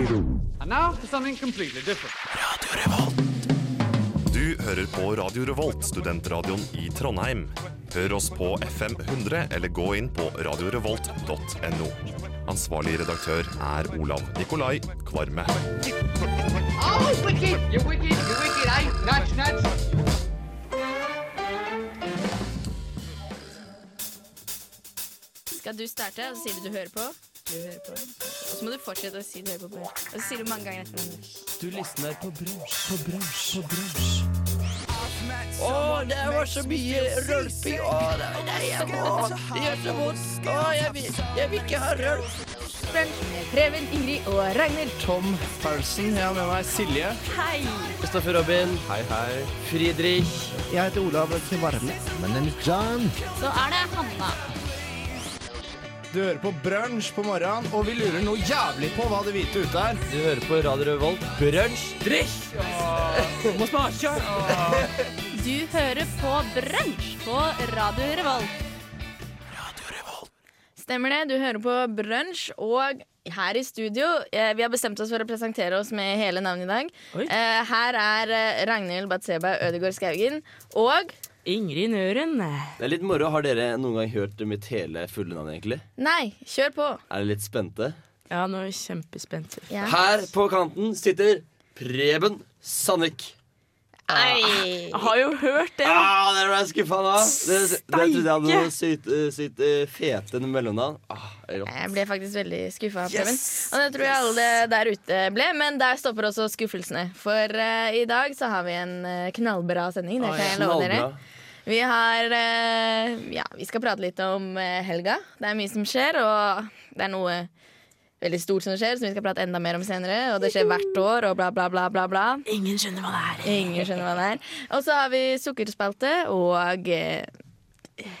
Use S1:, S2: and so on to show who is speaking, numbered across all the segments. S1: And now for something completely different.
S2: Du hører på Radio Revolt, studentradioen i Trondheim. Hør oss på FM 100 eller gå inn på radiorevolt.no. Ansvarlig redaktør er Olav Nikolai Kvarme.
S1: Oh, wicked! You're wicked! You're wicked! Eh? Nuts, nuts!
S3: Skal du starte, og så sier du du hører på. Du hører på. Og så må du fortsette å si du hører på. på. Og så sier du mange ganger etter hverandre.
S4: Du lysner på brunsj, på brunsj, på brunsj. Å, det var så mye rølping. Å, det, nei, jeg, å, det gjør så vondt. Å, jeg vil, jeg vil ikke ha rølp.
S3: Preben, Ingrid og Ragnhild.
S4: Tom Paulsen. Jeg har med meg Silje.
S3: Hei!
S4: Kristoffer Robin. Hei, hei. Fridrik. Jeg heter Olav Kvarme.
S3: Så er det Hanna.
S4: Du hører på brunsj på morgenen, og vi lurer noe jævlig på hva det hvite ute er. Du hører på Radio Revolt. Brunsj. Drikk. Må smake.
S3: Du hører på Brunsj på Radio Revolt. Stemmer det, du hører på Brunsj, og her i studio eh, Vi har bestemt oss for å presentere oss med hele navnet i dag.
S5: Oi.
S3: Eh, her er eh, Ragnhild Batseba Ødegaard Skaugen og
S5: Ingrid Nøren.
S6: Det er litt moro. Har dere noen gang hørt mitt hele fulle navn, egentlig?
S3: Nei, kjør på.
S6: Er dere litt spente?
S5: Ja, nå er jeg kjempespent.
S3: Ja.
S6: Her på kanten sitter Preben Sandvik.
S3: Ei.
S5: Jeg har jo hørt det. da.
S6: Ah, der ble jeg skuffa nå. Dere dere trodde jeg hadde noe sykt, eh, sykt eh, fete mellomnavn. Ah, rått.
S3: Jeg ble faktisk veldig skuffa. Preben. Og det tror jeg alle der ute ble, men der stopper også skuffelsene. For eh, i dag så har vi en eh, knallbra sending. Det
S5: Å,
S3: kan
S5: ja.
S3: jeg love dere.
S6: Knallbra.
S3: Vi har eh, Ja, vi skal prate litt om eh, helga. Det er mye som skjer, og det er noe veldig stort som skjer, som vi skal prate enda mer om senere. Og det skjer hvert år, og bla, bla, bla, bla. bla.
S5: Ingen skjønner hva det er.
S3: Ingen skjønner hva det er. Og så har vi sukkerspalte og eh,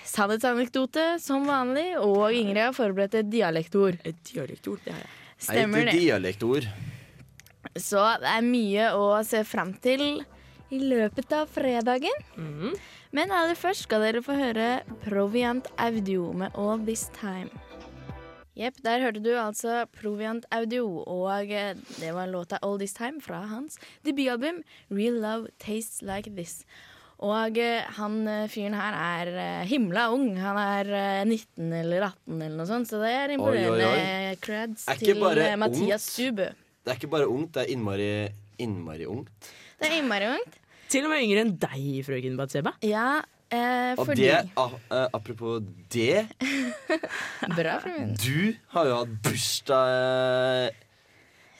S3: sannhetsanekdote som vanlig. Og Ingrid har forberedt et dialektord.
S5: Et dialektord, det er jeg.
S6: Jeg er
S3: Stemmer
S6: ikke
S3: det.
S6: dialektord.
S3: Så det er mye å se fram til i løpet av fredagen. Men aller først skal dere få høre Proviant Audio med All This Time. Jepp, der hørte du altså Proviant Audio, og eh, det var låta All This Time fra hans debutalbum Real Love Tastes Like This. Og eh, han eh, fyren her er eh, himla ung. Han er eh, 19 eller 18 eller noe sånt, så det er
S6: oi, oi.
S3: imponerende eh, creds
S6: Er ikke
S3: til
S6: bare
S3: eh, Mathias
S6: ungt.
S3: Subø.
S6: Det er ikke bare ungt, det er innmari, innmari ungt.
S3: Det er innmari ungt.
S5: Til og med yngre enn deg, frøken Batseba.
S3: Ja, eh,
S6: Og
S3: fordi
S6: det, ah, eh, apropos det
S3: Bra, Fruen.
S6: Du har jo hatt bursdag eh,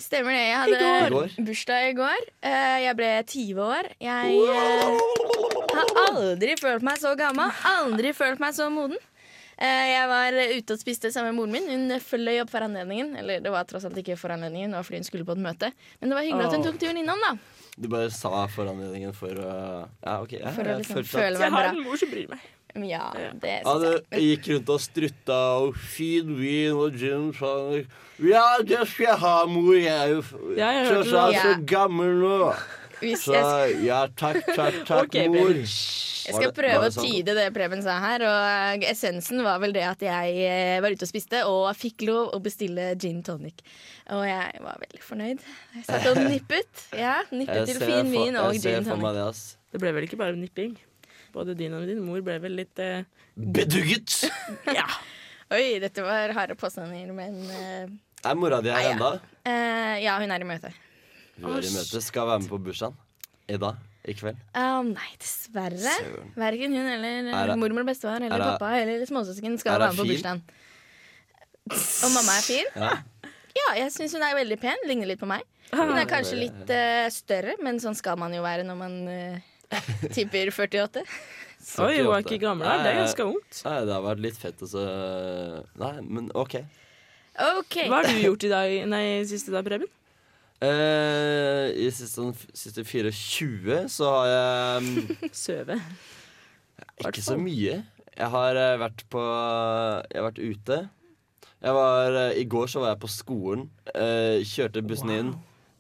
S3: Stemmer det. Jeg
S6: I
S3: hadde
S6: går.
S3: bursdag i går. Eh, jeg ble 20 år. Jeg eh, har aldri følt meg så gammel. Aldri følt meg så moden. Eh, jeg var ute og spiste sammen med moren min. Hun fløy opp for anledningen. Eller det var tross alt ikke for anledningen, det var fordi hun skulle på et møte. Men det var hyggelig at hun
S5: Åh.
S3: tok turen innom, da.
S6: Du bare sa foranledningen for å Ja, OK. Ja,
S3: For å
S6: jeg
S3: liksom
S6: følte at-
S3: føle meg bra.
S5: mor som bryr meg.
S3: Ja, det
S6: Ja,
S3: synes
S6: det
S3: jeg.
S6: gikk rundt og strutta og fin vin og gin sa han, Ja, det skal jeg ha, mor. Jeg er jo f-
S5: Ja, jeg hørte
S6: så, så,
S3: det.
S6: så
S3: Ja.
S6: gammel nå.
S3: Hvis
S6: Så
S3: jeg skal
S6: ja, takk, takk, takk,
S5: Ok,
S6: mor.
S3: Jeg
S6: Var
S5: baby.
S3: skal
S6: det- var
S3: prøve å
S6: det sånn? sant?
S3: tyde det Preben sa her. Og essensen var vel det at jeg eh, var ute og spiste og fikk lov å bestille gin tonic. Og jeg var veldig fornøyd. Jeg satt og nippet. Ja, nippet til
S6: ser
S3: fin
S6: for-
S3: vin og
S6: jeg ser
S3: gin
S6: for meg
S3: tonic.
S6: det, ass.
S5: Det ble vel ikke bare nipping. Både din og din mor ble vel litt eh,
S6: Bedugget!
S5: Ja.
S3: Oi, dette var harde påstander, men
S6: Er mora di her
S3: Nei, ja.
S6: ennå?
S3: eh, eh, Ja, hun er i møte.
S6: Hun er i møte. Skal være med på bursdagen. I dag. I kveld.
S3: Ah, nei, dessverre.
S6: Søren.
S3: Verken hun eller
S6: Er det-
S3: mormor og bestefar eller
S6: er det-
S3: pappa eller småsøsken skal
S6: er det
S3: være med på
S6: fin?
S3: bursdagen. Og mamma er fin.
S6: Ja.
S3: Ja, jeg syns hun er veldig pen. Ligner litt på meg. Hun er kanskje
S6: veldig-
S3: litt eh, større, men sånn skal man jo være når man eh, tipper 48.
S5: Oi, hun er ikke gammel her. Det er
S6: Nei,
S5: ganske ungt.
S6: Nei, det har vært litt fett å så Nei, men OK.
S3: OK.
S5: Hva har du gjort i dag, nei, siste dag, Preben?
S6: Eh, I siste, siste 24 så har jeg mm,
S5: Søve.
S6: Ikke så mye. Jeg har eh, vært på Jeg har vært ute. Jeg var, eh, I går så var jeg på skolen. eh, kjørte bussen inn.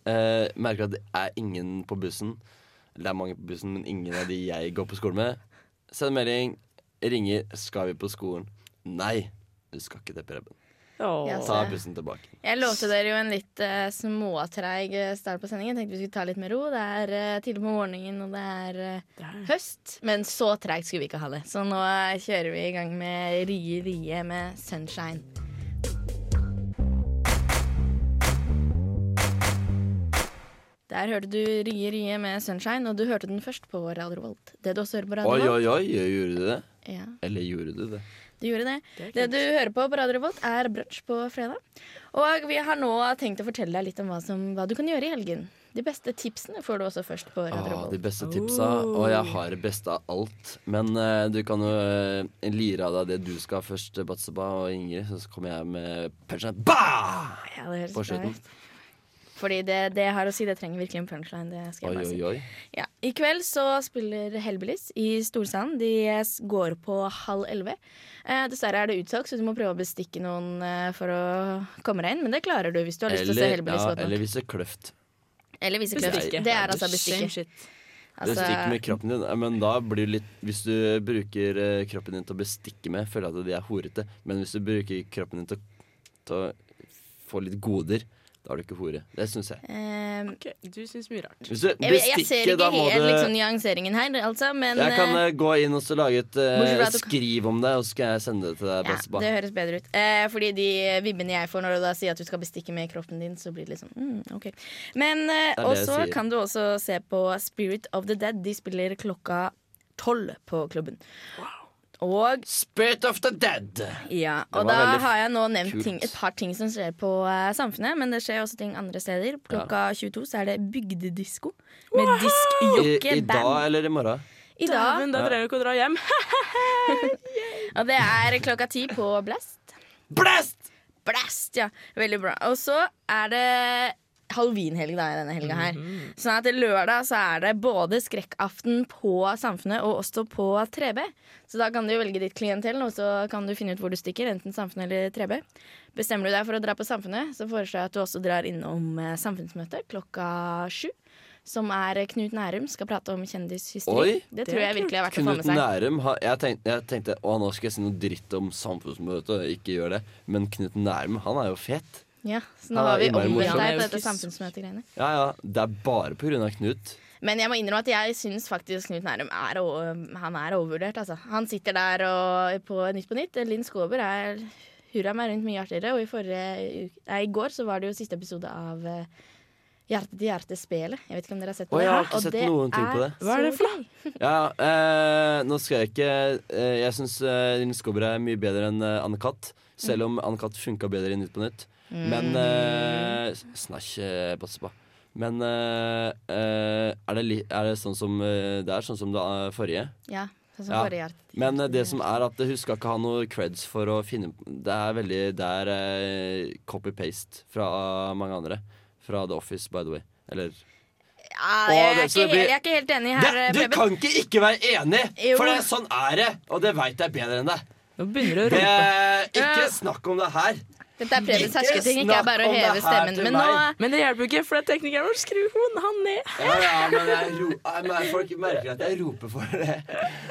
S6: eh, merker at det er ingen på bussen. Det er mange på bussen, men ingen av de jeg går på skole med. Send melding. Ringer. Skal vi på skolen? Nei. Du skal ikke det, Preben.
S5: Åh.
S3: Ja,
S6: Ta
S3: så-
S6: bussen tilbake.
S3: Jeg lovte dere jo en litt eh, småtreig eh, start på sendingen. Tenkte vi skulle ta litt med ro. Det er eh, tidlig på morgenen, og det er eh, høst. Men så treigt skulle vi ikke ha det. Så nå eh, kjører vi i gang med Rie Rie med Sunshine. Der hørte du Rie Rie med Sunshine, og du hørte den først på Radio Volt. Det du også hører på
S6: Oi,
S3: Radio Volt
S6: oi, oi, gjorde du det?
S3: ja.
S6: Eller gjorde du det?
S3: Du gjorde det. Det, du hører på på Radio Revolt, er brunsj på fredag. Og vi har nå tenkt å fortelle deg litt om hva, som, hva du kan gjøre i helgen. De beste tipsene får du også først på Radio
S6: Ah, de
S3: Revolt.
S6: beste tipsa. Og jeg har det beste av alt. Men eh, du kan jo eh, lire av deg det du skal først, eh, Batseba og Ingrid. Så kommer jeg med punchline. Bah!
S3: Ja, det høres
S6: På
S3: bra
S6: slutten.
S3: ut. Fordi det, det jeg har å si, det trenger virkelig en punchline. Det skal
S6: Oi,
S3: jeg bare si.
S6: oi, oi.
S3: Ja. I kveld så spiller Hellbillies i Storsand. De s- går på halv elleve. Eh, dessverre er det utsolgt, så du må prøve å bestikke noen eh, for å komme deg inn. Men det klarer du hvis du har lyst til å se
S6: Eller,
S3: Hellbillies
S6: ja,
S3: godt nok.
S6: eller vise kløft.
S3: Eller vise kløft.
S5: Bestikke.
S3: Det er altså
S5: Same
S3: bestikke.
S5: shit.
S6: Det
S3: Altså-
S6: stikker med kroppen din, Eh, men da blir det litt Hvis du bruker eh, kroppen din til å bestikke med, føler jeg at de er horete. Men hvis du bruker kroppen din til, å- til å få litt goder, da er du ikke hore. Det syns jeg.
S3: Eh,
S5: Ok, Du syns mye rart.
S6: Hvis du
S3: Jeg, jeg ser
S6: bestikker,
S3: ikke
S6: da må
S3: helt
S6: du
S3: liksom, nyanseringen her, altså, men
S6: Jeg kan
S3: eh,
S6: eh, gå inn og så lage et eh,
S3: Bortsett fra at du kan-
S6: skriv om deg, og så skal jeg sende det til deg.
S3: ja,
S6: Batseba.
S3: det høres bedre ut. Eh, fordi de vibbene jeg får når du da sier at du skal bestikke med kroppen din, så blir det liksom mm, OK. Men eh,
S6: Det er det jeg
S3: også
S6: sier.
S3: kan du også se på Spirit of the Dead. De spiller klokka tolv på klubben. Og
S6: Spirit of the dead!
S3: Ja,
S6: Det
S3: og
S6: var
S3: da
S6: veldig
S3: har jeg nå nevnt
S6: kult.
S3: ting, et par ting som skjer på eh, Samfunnet, men det skjer også ting andre steder. Klokka 22 så er det bygdedisko med
S6: I, I dag
S3: diskjockey-band.
S6: eller i morgen?
S3: I dag.
S5: Men da dreier det ikke å dra hjem.
S3: Og det er klokka ti på Blast.
S6: Blast!
S3: Blast, ja. Veldig bra. Og så er det halloweenhelg da, i denne helga her. Sånn at lørdag så er det både skrekkaften på Samfunnet og også på 3B. Så da kan du jo velge ditt klientell, og så kan du finne ut hvor du stikker. Enten Samfunnet eller 3B. Bestemmer du deg for å dra på Samfunnet, så foreslår jeg at du også drar innom eh, samfunnsmøtet klokka sju. Som er Knut Nærum skal prate om kjendishysteri.
S6: Oi,
S3: Det
S5: det
S3: tror
S5: er
S3: jeg virkelig er verdt å få med
S6: Knut
S3: seg.
S6: Nærum har jeg, tenkte, jeg tenkte å nå skal jeg si noe dritt om samfunnsmøtet, ikke gjør det. Men Knut Nærum, han er jo fet.
S3: Ja, Så nå
S6: Ja,
S3: har vi
S6: innmari
S3: omvendt
S6: morsomt.
S3: deg på dette samfunnsmøtegreiene.
S6: Ja ja, det er bare på grunn av Knut.
S3: Men jeg må innrømme at jeg syns faktisk Knut Nærum er, o- han er overvurdert. Altså. Han sitter der og på Nytt på Nytt. Linn Skåber er hurra meg rundt mye artigere. Og i, forrige uke, nei, i går så var det jo siste episode av eh, Hjerte til hjerte-spelet. Jeg vet ikke om dere har sett på
S6: Å,
S3: det?
S6: jeg har
S3: her,
S6: ikke
S3: og
S6: sett noen ting på det.
S5: Hva er det
S3: så
S5: for
S3: gøy.
S6: Ja, eh, nå skal jeg ikke eh, Jeg syns eh, Linn Skåber er mye bedre enn eh, Anne-Kat. Selv om Anne-Kat funka bedre i Nytt på Nytt. Men eh, s- Snakk, eh, Batseba. Men eh, eh, er, det li er det sånn som eh, det er? Sånn som det eh, forrige?
S3: Ja, sånn som
S6: Ja.
S3: forrige hjerte. til
S6: Men eh,
S3: hjerte.
S6: det som er at jeg husker ikke ha noe creds for å finne Det er veldig Det er eh, copy-paste fra mange andre. Fra The Office, by the way. Eller
S3: ja,
S6: Å,
S3: jeg, er
S6: det
S3: ikke
S6: skal
S3: helt,
S6: bli-
S3: jeg er ikke helt enig her,
S6: Det- Du
S3: Preben.
S6: kan ikke ikke være enig!
S3: Jo.
S6: For det, er sånn er det! Og det veit jeg bedre enn deg.
S5: Nå begynner det å
S6: Det,
S5: rope.
S6: ikke snakk om det her.
S3: Dette er Prebens
S6: Ikke
S3: hersketing, ikke er bare å
S6: snakk om
S3: heve
S6: det her
S3: stemmen.
S6: til
S3: Men nå
S6: meg.
S5: Men det hjelper ikke, for det er teknikeren vår skrur hun han ned.
S6: Ja, ja, men jeg ro, Nei, men folk merker at jeg roper for det.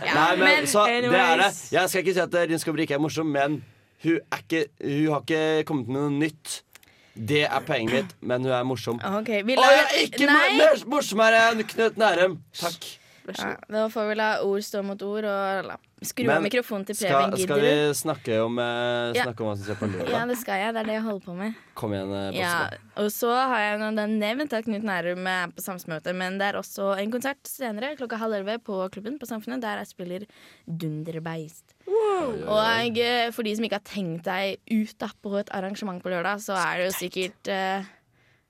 S6: Nei, men,
S3: men
S6: så, det er det.
S5: anyways.
S6: Jeg skal ikke si at Linn Skåber ikke er morsom, men hun, er ikke, hun har ikke kommet med noe nytt. Det er poenget mitt, men hun er morsom.
S3: OK, vi
S6: Å,
S3: lar
S6: jeg er ikke
S3: Nei.
S6: mo- mer morsommere enn Knut Nærum! Takk.
S3: Ja, da får vi la ord stå mot ord, og la, skru av
S6: Men
S3: mikrofonen til Preben.
S6: Skal, skal vi
S3: Gidder du?
S6: snakke om, eh,
S3: Ja.
S6: snakke om hva som skjer på
S3: Ja,
S6: lørdag?
S3: det skal jeg. Det er det jeg holder på med.
S6: Kom igjen, eh,
S3: Ja,
S6: Basse.
S3: og så har jeg nå den nevnt at Knut Nærum er på samfunnsmøte, men det er også en konsert senere klokka halv elleve på klubben på Samfunnet, der jeg spiller Dunderbeist. Og eh, for de som ikke har tenkt deg ut da, på et arrangement på lørdag, så er det jo sikkert eh,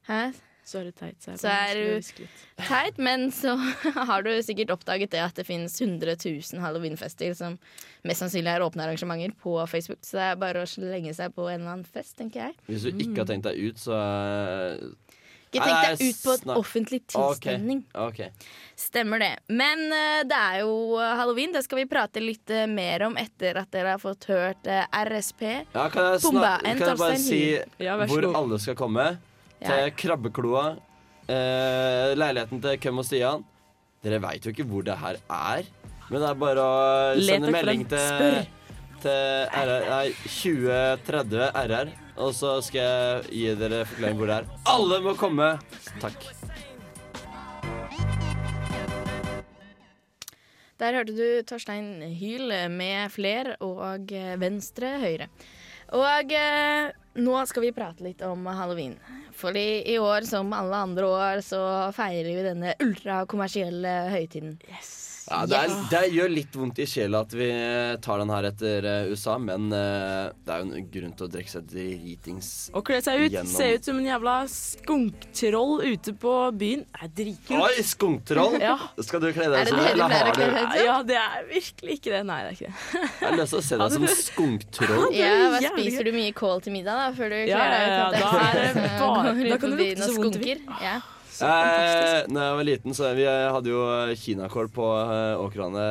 S3: Hæ?
S5: Så er det teit. Så er det,
S3: Så er du-
S5: skritt.
S3: Teit, men så har du sikkert oppdaget det at det finnes 100 000 halloweenfester som mest sannsynlig er åpne arrangementer på Facebook, så det er bare å slenge seg på en eller annen fest, tenker jeg.
S6: Hvis du ikke har tenkt deg ut, så eh,
S3: Ikke
S6: Nei,
S3: tenk deg ut på et
S6: snak-
S3: offentlig
S6: OK.
S3: tilstelning.
S6: Ok.
S3: Stemmer det. Men eh, det er jo eh, halloween. Det skal vi prate litt eh, mer om etter at dere har fått hørt eh, RSP.
S6: Ja, kan jeg,
S3: Bomba,
S6: snak-
S3: en
S6: kan jeg bare
S3: Torstein
S6: si
S5: Ja, vær så
S6: hvor
S5: god.
S6: alle skal komme?
S3: Ja.
S6: Til Krabbekloa, eh, leiligheten til Køm og Stian. Dere veit jo ikke hvor det her er, men det er bare å
S5: Let
S6: sende
S5: dere
S6: melding
S5: frem.
S6: til,
S5: Spør.
S6: til RR, nei, 2030 RR, og så skal jeg gi dere forklaring hvor det er. Alle må komme! Takk.
S3: Der hørte du Torstein Hyl med fler og eh, venstre høyre. Og eh, nå skal vi prate litt om halloween. Fordi i år, som alle andre år, så feirer vi denne ultrakommersielle høytiden.
S6: Ja, det, er, det gjør litt vondt i sjela at vi tar den her etter eh, USA, men eh, det er jo en grunn til å drikke seg dritings.
S5: Å kle seg ut,
S6: Gjennom-
S5: se ut som en jævla skunktroll ute på byen, er dritkult.
S6: Oi, skunktroll!
S5: Ja.
S6: Skal du kle deg
S3: Er det
S6: som
S3: det du
S6: eller
S3: pleier å
S6: har
S3: kle
S6: du
S3: deg?
S5: Ja, det er virkelig ikke det. Nei, det er ikke det.
S6: Jeg har lyst til å se deg som skunktroll.
S5: det er
S3: Ja, hva
S5: jævlig
S3: Spiser du mye kål til middag da, før du
S5: Ja,
S3: kler deg ut?
S5: ja, ja,
S3: at det ikke
S5: da er det
S3: sånn,
S5: bare-
S3: går
S5: da
S3: rundt
S5: kan det
S3: forbi
S5: lukte
S3: noen
S5: så vondt i
S3: skunker? Ja.
S5: Så fantastisk.
S6: Eh, når jeg var liten, så vi eh, hadde jo kinakål på eh, åkrene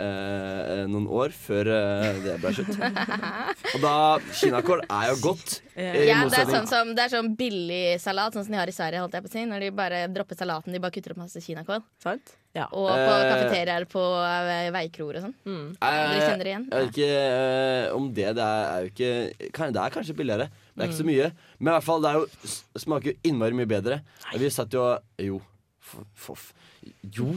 S6: eh, noen år før eh, det ble slutt. Og da Kinakål er jo godt. eh,
S3: Ja,
S6: i
S3: det er
S6: motsetning-
S3: sånn, som, det er sånn billig salat, sånn som de har i Sverige. holdt jeg på å si Når de bare dropper salaten, de bare kutter opp masse kinakål.
S5: Sant? Ja.
S3: Og på
S6: Eh.
S3: kafeteriaer på eh, veikroer og sånn.
S6: Eh,
S3: Dere kjenner det igjen?
S6: Jeg vet ikke eh, om det. Det er, er jo ikke kan, Det er kanskje billigere, men det er ikke
S3: Mm.
S6: så mye. Men i hvert fall, det er jo, s- smaker jo innmari mye bedre. Vi satt jo Jo. f- f- Jo.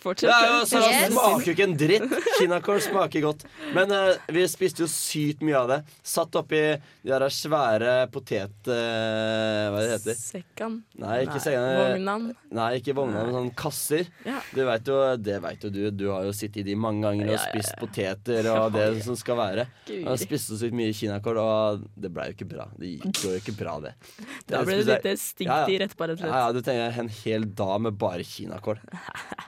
S5: Fortsett.
S6: Ja, ja, altså,
S3: Yes.
S6: det smaker jo ikke en dritt. Kinakål smaker godt. Men eh, vi spiste jo sykt mye av det. Satt oppi de der svære potet... eh, hva det heter
S5: Sekkan.
S6: Nei, ikke segene.
S5: Vognan.
S6: Nei, ikke vogna, men sånne kasser.
S5: Ja.
S6: Du vet jo, det vet jo du. Du har jo sittet i de mange ganger og
S5: Ja, ja, ja.
S6: spist poteter og det som skal være.
S5: Guri.
S6: Og jeg spiste så mye kinakål, og det ble jo ikke bra. Det gikk jo ikke bra, det.
S5: Da
S6: Jeg
S5: ble det
S6: spiste-
S5: litt eh, stinkt
S6: Ja, ja.
S5: i rett, bare rett og
S6: ja,
S5: slett.
S6: ja, du tenker en hel dag med bare kinakål.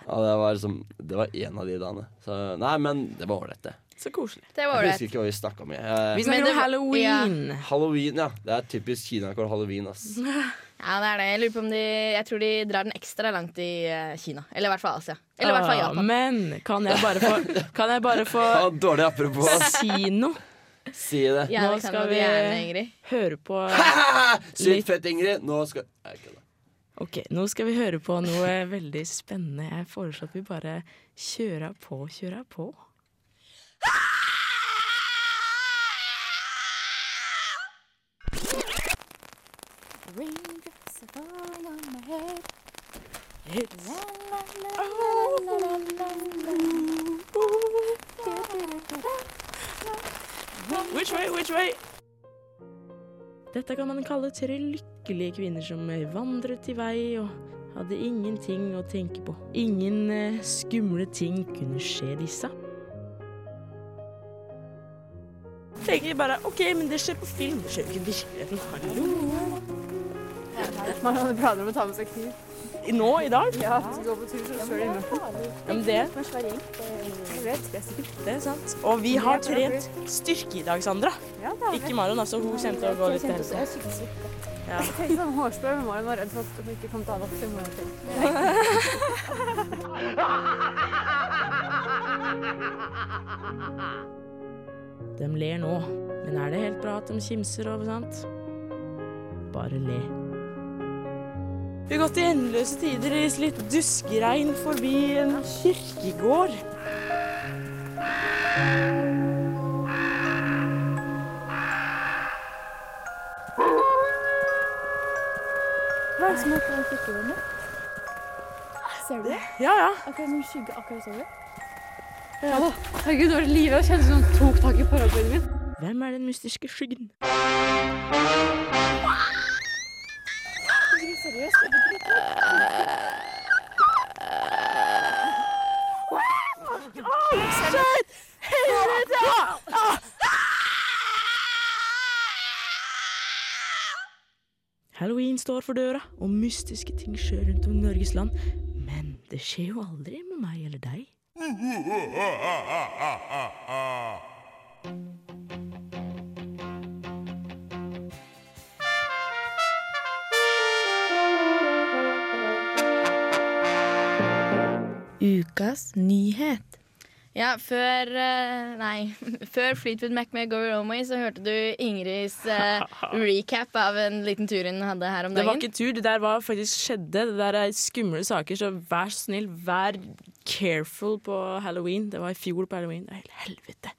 S6: Og det var liksom Det var én av de dagene. Så nei, men det var ålreit, det.
S5: Så koselig.
S3: Det var
S6: Jeg
S3: ålreit.
S6: husker ikke hva vi snakka om. jeg.
S5: Vi
S6: Eh,
S3: Men
S5: snakker
S3: det
S5: om
S3: var-
S5: halloween.
S6: Halloween, ja. Det er typisk kinakål halloween, ass.
S3: Ja, det er det. Jeg lurer på om de Jeg tror de drar den ekstra langt i eh, Kina. Eller i hvert fall Asia. Eller i hvert fall
S5: Ah,
S3: Japan.
S5: Men kan jeg bare få, kan jeg bare få
S6: Ja, dårlig apropos.
S5: si noe?
S6: Si det.
S3: Ja,
S5: Nå
S3: det kan
S5: skal
S3: du
S5: vi-
S3: gjerne, Ingrid.
S5: Høre på
S6: Sykt fett, Ingrid. Nå skal Nei, ikke det.
S5: Ok, nå skal vi høre på noe veldig spennende. Jeg foreslår at vi bare kjører på, kjører på. Which way, which way? Dette kan man kalle tre lykkelige kvinner som eh, vandret i vei og hadde ingenting å tenke på. Ingen eh, skumle ting kunne skje disse. Tenker bare OK, men det skjer på film, det skjer jo ikke i virkeligheten. Hallo?
S7: Man hadde planer om å ta med seg kniv.
S5: I- Nå i dag?
S7: Ja, gå på tur, så kjører de innenfor.
S5: Ja, men det,
S7: Jeg vet, det er sikkert.
S5: det er sant. Og vi har trent styrke i dag, Sandra.
S7: Ja, det er det.
S5: Ikke Marion, altså. Hun kommer til å gå litt til helvete.
S7: Tenk sånn hårspray med Malin var redd for at hun ikke kom til å ha nok til morgenen til.
S5: De ler nå, men er det helt bra at de kimser og sant? Bare le. Vi har gått i endeløse tider i litt duskregn forbi en kirkegård.
S8: Hva er det som er på den kirkegården nå? Ser du det?
S5: Ja, ja.
S8: Akkurat som skygge akkurat over.
S7: Herregud, nå er det livet. Jeg kjente som hun tok tak i paraplyen min.
S5: Hvem er den mystiske skyggen?
S8: Ingrid, seriøst, det betyr ikke noe.
S5: Halloween står for døra, og mystiske ting skjer rundt om i Norges land. Men det skjer jo aldri med meg eller deg.
S3: Ukas nyhet. Ja, før eh, Nei, før Fleetwood Mac med Go Your Own Way, så hørte du Ingrids eh, recap av en liten tur hun hadde her om
S5: Det var
S3: dagen.
S5: ikke tur, det der var faktisk skjedde. Det der er skumle saker, så vær så snill, vær careful på halloween. Det var i fjor på halloween. Det er helt helvete.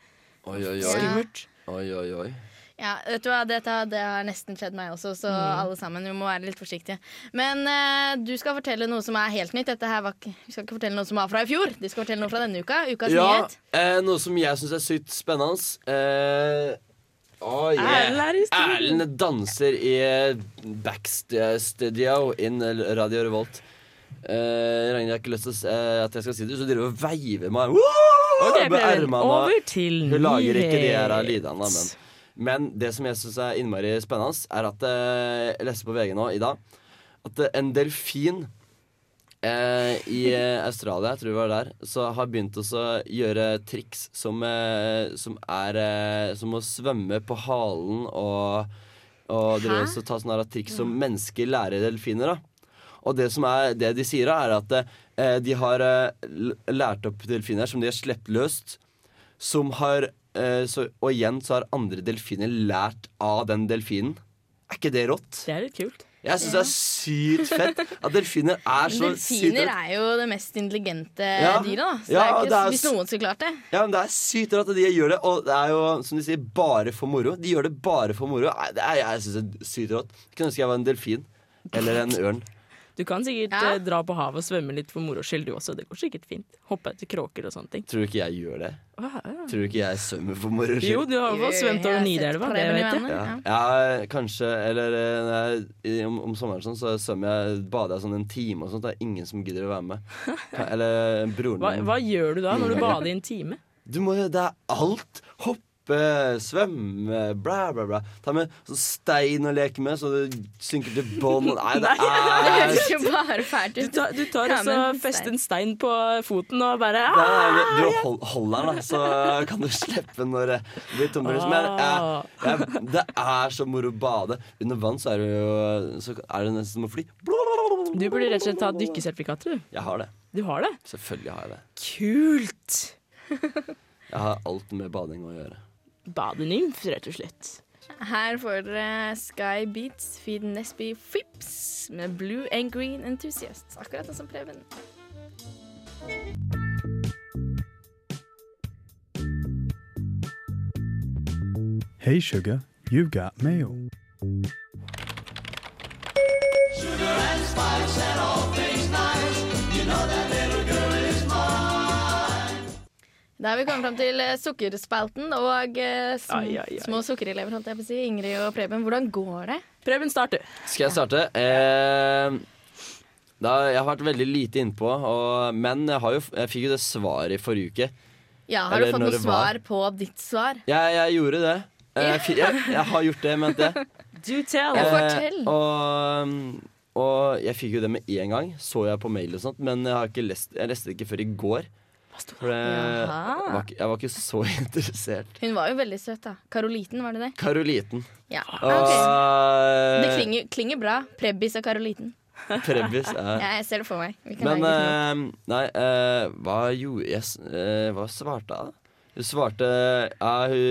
S6: Oi, oi, oi.
S3: Skummelt.
S6: Oi, oi, oi.
S3: Ja, vet du hva, Dette, Det har nesten skjedd meg også, så alle sammen vi må være litt forsiktige. Men eh, du skal fortelle noe som er helt nytt. Dette her var ikke, Vi skal ikke fortelle noe som var fra i fjor. De skal fortelle noe fra denne uka. Ukas
S6: Ja,
S3: nyhet.
S6: eh, noe som jeg syns er sykt spennende. Eh, oh,
S5: Erlend
S6: yeah.
S5: er i studio.
S6: Erlend danser i eh, backstudio in Radio Revolt. Eh, Ragnhild har ikke lyst til å s- eh, at jeg skal si det, så hun driver og veiver meg. Woo!
S5: Det
S6: Med
S5: ble vel
S6: ermene.
S5: over til
S6: Hun lager ikke de her
S5: nyhet.
S6: lydene, da, men Men det som jeg syns er innmari spennende, er at eh, Jeg leste på VG nå i dag at eh, en delfin eh, i eh, Australia, jeg tror det var der, så har begynt også å gjøre triks som, eh, som er eh, Som å svømme på halen og og driver også ta sånne her triks som mennesker lærer delfiner. da Og det som er det de sier, da, er at eh, de har eh, l- lært opp delfiner som de har sluppet løst. Som har eh, så, Og igjen så har andre delfiner lært av den delfinen. Er ikke det rått?
S5: Det er litt kult.
S6: Jeg syns det er sykt fett at delfiner er så sykt
S3: Delfiner
S6: rått.
S3: er jo det mest intelligente
S6: Ja.
S3: dyret. da Så det
S6: Ja,
S3: er
S6: det
S3: ikke,
S6: er
S3: Hvis
S6: s-
S3: noen skulle klart det.
S6: Ja, men det er sykt rått at de gjør det. Og det er jo, som de sier, bare for moro. De gjør det bare for moro. Nei, det er, jeg syns det er sykt rått. Kunne ønske jeg var en delfin. Eller en ørn.
S5: Du kan sikkert
S3: Ja.
S5: eh, dra på havet og svømme litt for moro skyld, du også. Det går sikkert fint. Hoppe etter kråker og sånne ting.
S6: Tror du ikke jeg gjør det?
S5: Åh, ja.
S6: Tror du ikke jeg svømmer for moro
S5: Jo,
S6: skyld?
S5: du har i hvert fall svømt over
S3: Jeg har sett
S5: Nidelva,
S3: på
S5: det
S3: med
S5: vet jeg.
S3: venner,
S6: Ja.
S3: Mm, ja.
S6: ja, kanskje. Eller eh, når jeg- i- om, om sommeren sånn, så svømmer jeg, bader jeg sånn en time og sånt. Det er ingen som gidder å være med. Eller eh, broren
S5: Hva,
S6: min.
S5: hva gjør du da
S6: Mm.
S5: når du bader i en time?
S6: Du må jo, det er alt. Hoppe, svømme, bla, bla, bla. Ta med sånn stein å leke med, så du synker til bånn. Nei, det
S3: Det
S6: er
S3: høres jo bare fælt
S5: Du
S3: ut.
S5: tar, du tar
S3: Ja,
S5: altså
S3: men en
S5: fest
S3: stein.
S5: en stein på foten og bare
S6: det
S5: ah!
S6: er, du hold, holder den, da, så kan du slippe når det blir tombrus. Men jeg, jeg, det er så moro å bade. Under vann så er det jo så er det nesten som å fly.
S5: Du burde rett og slett ta dykkesertifikater, du.
S6: Jeg har det.
S5: Du har det.
S6: Selvfølgelig har jeg det.
S5: Kult!
S6: Jeg har alt med bading å gjøre.
S5: Badenymf, rett og slett.
S3: Her får dere Sky Beats, Feed Nesby Fips med Blue and Green Enthusiast. Akkurat sånn som Preben.
S9: Hey sugar, you got mail.
S3: Da er vi kommet fram til eh, sukkerspalten og eh, sm
S5: Ai, ai, ai.
S3: små sukkerelever, holdt jeg på å si. Ingrid og Preben, hvordan går det?
S5: Preben, start du.
S6: Skal jeg starte? Eh, da, jeg har vært veldig lite innpå, og, men jeg, har jo, jeg fikk jo det svaret i forrige uke.
S3: Ja, Har
S6: Eller
S3: du fått
S6: når
S3: noe
S6: det var.
S3: svar på ditt svar?
S6: Jeg, jeg gjorde det. Eh, Jeg, fi- jeg, jeg har gjort det, mente jeg.
S5: Do
S3: Ja.
S5: tell.
S6: Eh,
S3: Fortell.
S6: og, og jeg fikk jo det med en gang, så jeg på mail og sånt, men jeg, har ikke lest, jeg leste det ikke før i går. For det, jeg,
S5: Jaha.
S6: var, ikke- jeg var ikke så interessert.
S3: Hun var jo veldig søt, da. Karoliten, var det det?
S6: Karoliten.
S3: Ja.
S6: Og
S3: Ah, ok. Det klinger, klinger bra. Prebbis og Karoliten.
S6: Prebis. Ja.
S3: Ja, jeg ser det for meg. Vi kan
S6: Men
S3: lage litt
S6: eh, nei, eh, hva gjorde jeg s- eh, Hva svarte jeg, da? Hun svarte ja, Hun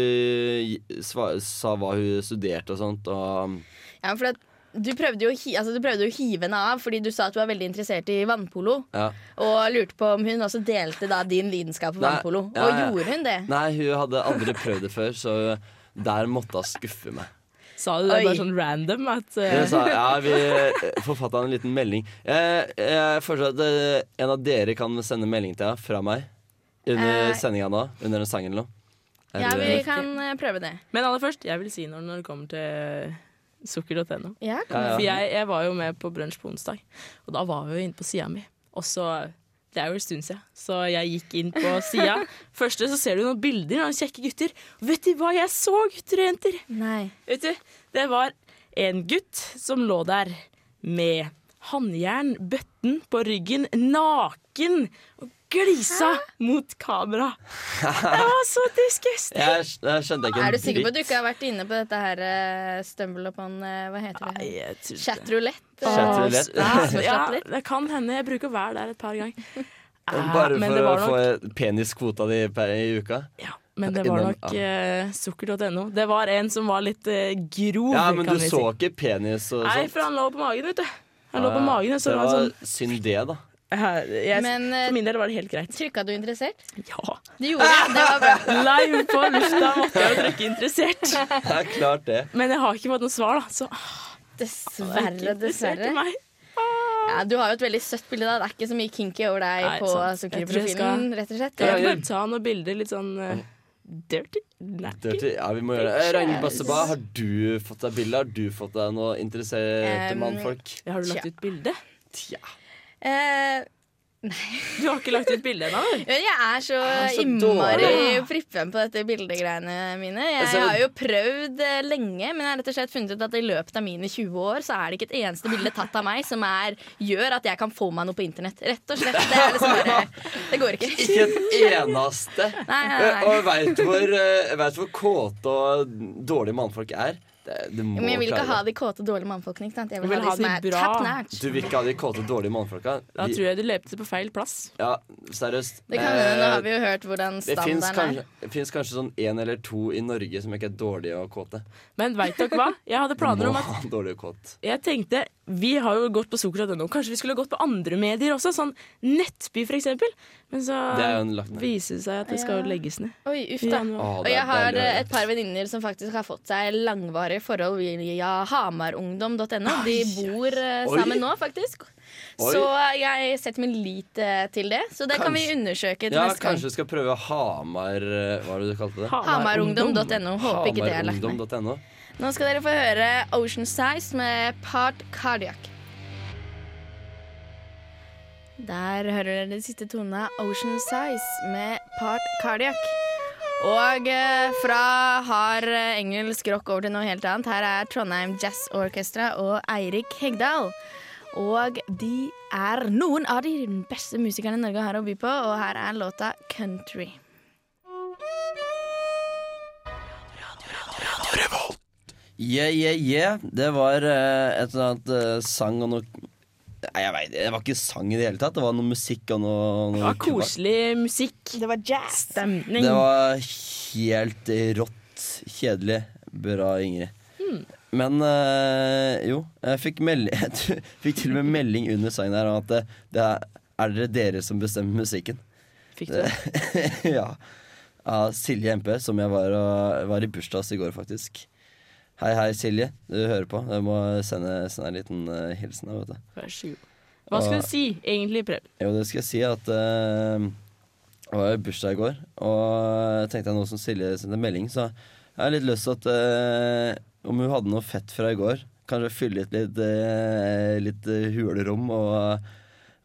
S6: gi- sva- sa hva hun studerte og sånt, og
S3: noe. ja, for at du prøvde, jo, å hi- altså, du prøvde jo å hive henne av fordi du sa at du var veldig interessert i vannpolo.
S6: ja.
S3: Og lurte på om hun også delte da din lidenskap for
S6: Nei,
S3: vannpolo.
S6: ja,
S3: Og
S6: ja.
S3: gjorde hun det?
S6: Nei, hun hadde aldri prøvd det før, så der måtte hun skuffe meg.
S5: Sa du det
S3: Oi.
S5: bare sånn random? At, eh,
S6: Jeg sa, ja, vi forfatta en liten melding. Jeg, jeg foreslår at eh, en av dere kan sende melding til henne fra meg under
S3: Eh.
S6: sendinga nå. Under en sang eller noe.
S3: Ja,
S6: Eller-
S3: vi kan eh, prøve det.
S5: Men aller først, jeg vil si noe når det kommer til sukker.no.
S3: Ja,
S6: ja,
S5: For
S6: ja.
S5: jeg, jeg var jo med på brunsj på onsdag, og da var vi jo inne på sida mi. Og så Det er jo en stund siden, så jeg gikk inn på sida. Først så ser du noen bilder av kjekke gutter. Og vet du hva jeg så, gutter og jenter?
S3: Nei.
S5: Vet du, Det var en gutt som lå der med håndjern, bøtten på ryggen, naken og glisa mot kamera. Det var så disgusting!
S6: Jeg, sk- jeg skjønte ikke en
S3: Er du sikker på at du
S6: dritt.
S3: ikke har vært inne på dette her eh, stumble upon eh, Hva heter det?
S5: Nei, jeg trodde-
S3: Chat roulette?
S6: Chat
S3: eh,
S6: roulette.
S3: spørsmål,
S5: Ja,
S3: chat roulette.
S5: det kan hende. Jeg bruker å være der et par ganger. Eh,
S6: Bare
S5: men
S6: for
S5: det
S6: å
S5: var nok-
S6: få peniskvota di per i uka?
S5: Ja, men det var
S6: Innom-
S5: nok eh, sukker.no. Det var en som var litt eh, grov,
S6: Ja, men
S5: kan
S6: du
S5: vi
S6: så ikke penis og
S5: Nei, for
S6: sånt?
S5: han lå på magen, vet du. Han lå
S6: Ja,
S5: på magen, og så
S6: det
S5: var han
S6: var
S5: sånn
S6: synd det, da.
S5: Jeg, jeg,
S10: Men, eh,
S5: for min del var det helt greit.
S3: Trykka du interessert?
S5: Ja.
S3: Du gjorde det. Det var bra.
S5: Live på lufta måtte jeg jo trykke interessert.
S6: Det er klart, det.
S5: Men jeg har ikke fått noe svar, da. Så
S3: Dessverre,
S5: interessert
S3: dessverre.
S5: i meg.
S3: Ja, du har jo et veldig søtt bilde. da Det er ikke så mye kinky over deg
S5: Nei,
S3: på
S5: sant. Jeg tror jeg
S3: sukkerprofilen, rett og slett.
S5: Jeg kan bare ta noen bilder litt sånn eh, dirty. Nei.
S6: Dirty. Ja, vi må gjøre det. Eh, Ragnhild Basseba, har du fått deg bilde? Har du fått deg noe interesserte
S3: Em,
S6: mannfolk?
S5: Har du lagt
S3: Tja.
S5: ut bilde?
S6: Tja.
S3: Eh,
S5: Du har ikke lagt ut bilde ennå? vel?
S3: Men jeg er så,
S6: er Ah, så
S3: innmari
S6: dårlig. Altså,
S3: prippen på dette bildegreiene mine. Jeg
S6: ser-
S3: har jo prøvd eh, lenge, men jeg har rett og slett funnet ut at i løpet av mine 20 år så er det ikke et eneste bilde tatt av meg som er, gjør at jeg kan få meg noe på internett. Rett og slett. Det, er liksom bare, det går ikke.
S6: Ikke et eneste.
S3: Nei, nei,
S6: Eh,
S3: nei.
S6: Og veit hvor, eh, vet hvor kåte og dårlige mannfolk er. Det, du må
S3: Men jeg vil ikke
S6: klare
S3: ha
S6: det.
S3: de kåte, dårlige mannfolkene. Ikke sant? Jeg vil,
S5: Du vil
S3: ha de som
S5: ha de
S3: er
S5: bra.
S3: tatt nært.
S6: Du vil ikke ha de kåte, dårlige mannfolka?
S5: Da
S6: Vi-
S5: tror jeg du lepte på feil plass.
S6: Ja, seriøst.
S3: Det kan hende, nå har vi jo hørt hvordan
S6: Eh, Det fins
S3: standarden
S6: kanskje,
S3: er.
S6: det finnes kanskje sånn én eller to i Norge som ikke er dårlige og kåte.
S5: Men veit dere hva? Jeg hadde planer
S6: Må
S5: om at
S6: ha dårlig og kåt.
S5: Jeg tenkte, Vi har jo gått på sukker.no. Kanskje vi skulle gått på andre medier også? Sånn Nettby, for eksempel. Men så
S6: Det er jo en lagt ned.
S5: viser det seg at det skal jo legges ned.
S3: Oi, uff
S5: i
S3: da.
S5: januar.
S6: Å,
S3: Og
S6: det er
S3: jeg har
S6: deilig å
S3: eh,
S6: høre.
S3: et par venninner som faktisk har fått seg langvarige forhold via hamarungdom.no. De bor eh,
S6: Oi.
S3: sammen nå, faktisk.
S6: Oi.
S3: Så jeg setter min lit eh, til det. Så det kan vi
S6: Kanskje-
S3: undersøke til
S6: Ja,
S3: neste
S6: kanskje
S3: gang.
S6: vi skal prøve Hamar eh, Hva var det du kalte det?
S3: Hamarungdom.no. Håper ikke det er lagt ned.
S6: Hamarungdom.no.
S3: Nå skal dere få høre Ocean Size med Part Cardiac.
S10: Der hører dere de siste tonene av Ocean Size med Part Cardiac. Og eh, fra hard eh, engelsk rock over til noe helt annet. Her er Trondheim Jazz Orchestra og Eirik Hegdal. Og de er noen av de beste musikerne Norge har å by på, og her er låta 'Country'.
S6: Yeah, yeah, yeah. Det var eh, et eller annet eh, sang og noe Nei, jeg vet, det var ikke sang i det hele tatt. Det var noe musikk og noe, noe
S5: Det var koselig musikk.
S10: Det var jazz.
S5: Stemning.
S6: Det var helt rått kjedelig. Bra, Ingrid. Men eh, jo, jeg fikk, meld jeg fikk til og med melding under sangen her om at det, det er, er det dere som bestemmer musikken.
S5: Fikk du det?
S6: ja. Av Silje MP, som jeg var, og, var i bursdag hos i går, faktisk. Hei, hei, Silje. Du hører på. Jeg må sende, sende en liten eh, hilsen. her, Vet du.
S5: Vær så god. Hva skal du si egentlig, Preben?
S6: Jo, det skal jeg si at eh, Det var jo bursdag i går, og jeg tenkte jeg nå som Silje sendte melding, så jeg har litt lyst til at eh, om hun hadde noe fett fra i går, kanskje fylle ut litt, eh, litt eh, hulrom og,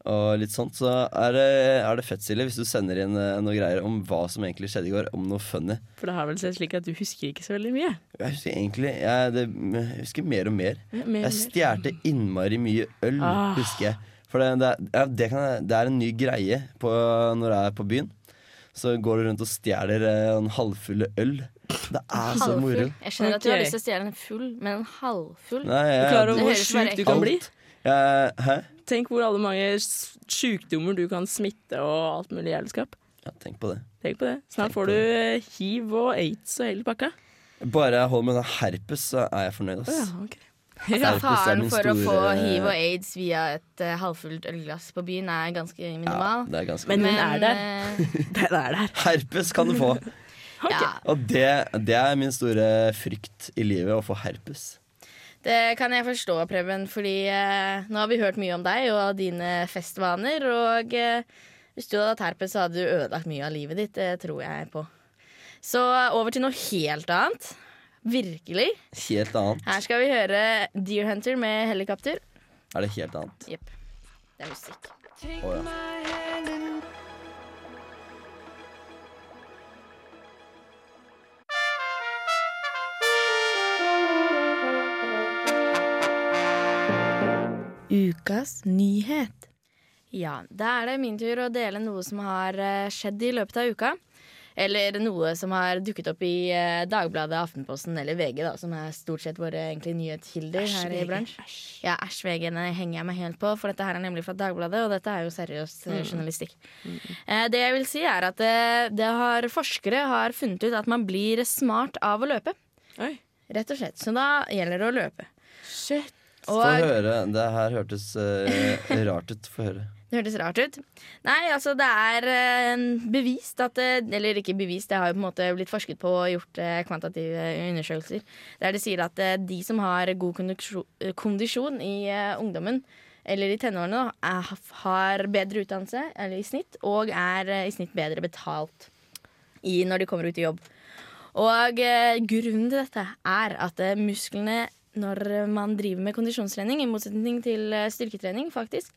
S6: og litt sånt, så er det, er det fett, Silje, hvis du sender inn eh, noe greier om hva som egentlig skjedde i går, om noe funny.
S5: For det har vel seg slik at du husker ikke så veldig mye?
S6: Jeg husker egentlig jeg, det, jeg husker mer og mer.
S5: Ja, mer og
S6: Jeg stjerte innmari mye øl,
S5: Ah.
S6: husker jeg. For det, det, er- ja, det, kan, jeg- det er en ny greie på, når jeg er på byen. Så går du rundt og stjeler eh, en halvfulle øl. Det er så moro.
S3: Halvfull. Jeg skjønner at du har
S5: Ok.
S3: lyst til å stjele en full, men en halvfull?
S6: Nei, jeg,
S5: Klar over
S3: Det
S5: hvor
S3: høres bare
S5: sjuk du kan
S6: ekkelt.
S5: bli?
S6: jeg, Hæ?
S5: Tenk hvor alle mange s- sjukdommer du kan smitte og alt mulig jævelskap.
S6: Ja, tenk på det.
S5: Tenk på det.
S6: Tenk
S5: Snart
S6: på
S5: får du eh, hiv og aids og hele pakka.
S6: Bare jeg holder med den herpes, så er jeg fornøyd.
S5: Å Ja,
S6: Ass.
S5: ok.
S3: Ja,
S6: Herpes er
S3: faren
S6: min
S3: for å få
S6: store-
S3: hiv og aids via et eh, halvfullt ølglass på byen er ganske
S6: Ja,
S3: minimal.
S6: det er ganske
S5: Men den er der.
S3: eh,
S5: Den er der.
S6: Herpes kan du få.
S3: ja.
S6: Og det, det er min store frykt i livet, å få herpes.
S3: Det kan jeg forstå, Preben, fordi eh, nå har vi hørt mye om deg og dine festvaner. Og eh, hvis du hadde hatt herpes, så hadde du ødelagt mye av livet ditt. Det tror jeg på. Så over til noe helt annet. Virkelig.
S6: Helt annet.
S3: Her skal vi høre Deer Hunter med helikopter.
S6: Er det helt annet.
S3: Jepp. Det er musikk.
S6: Å, ja.
S10: Ukas nyhet.
S3: Ja, da er det min tur å dele noe som har eh, skjedd i løpet av uka. Eller noe som har dukket opp i eh, Dagbladet, Aftenposten eller VG, da, som er stort sett våre egentlig nyhetskilder her i bransjen. Ja, æsj, VG den henger jeg meg helt på, for dette her er nemlig fra Dagbladet, og dette er jo seriøs eh, journalistikk. Eh, Det jeg vil si er at eh, det har, forskere har funnet ut at man blir smart av å løpe.
S5: Oi.
S3: Rett og slett. Så da gjelder det å løpe.
S5: Shit.
S6: Få
S3: Og
S6: høre. Det her hørtes eh, rart ut. Få høre.
S3: Det hørtes rart ut. Nei, altså det er eh, bevist at eh, Eller ikke bevist, det har jo på en måte blitt forsket på og gjort eh, kvantitative undersøkelser. Der de sier at eh, de som har god konduksjo- eh, kondisjon i eh, ungdommen, eller i tenårene, da, er, har bedre utdannelse eller i snitt, og er eh, i snitt bedre betalt i, når de kommer ut i jobb. Og eh, grunnen til dette er at eh, musklene når man driver med kondisjonstrening, i motsetning til eh, styrketrening, faktisk,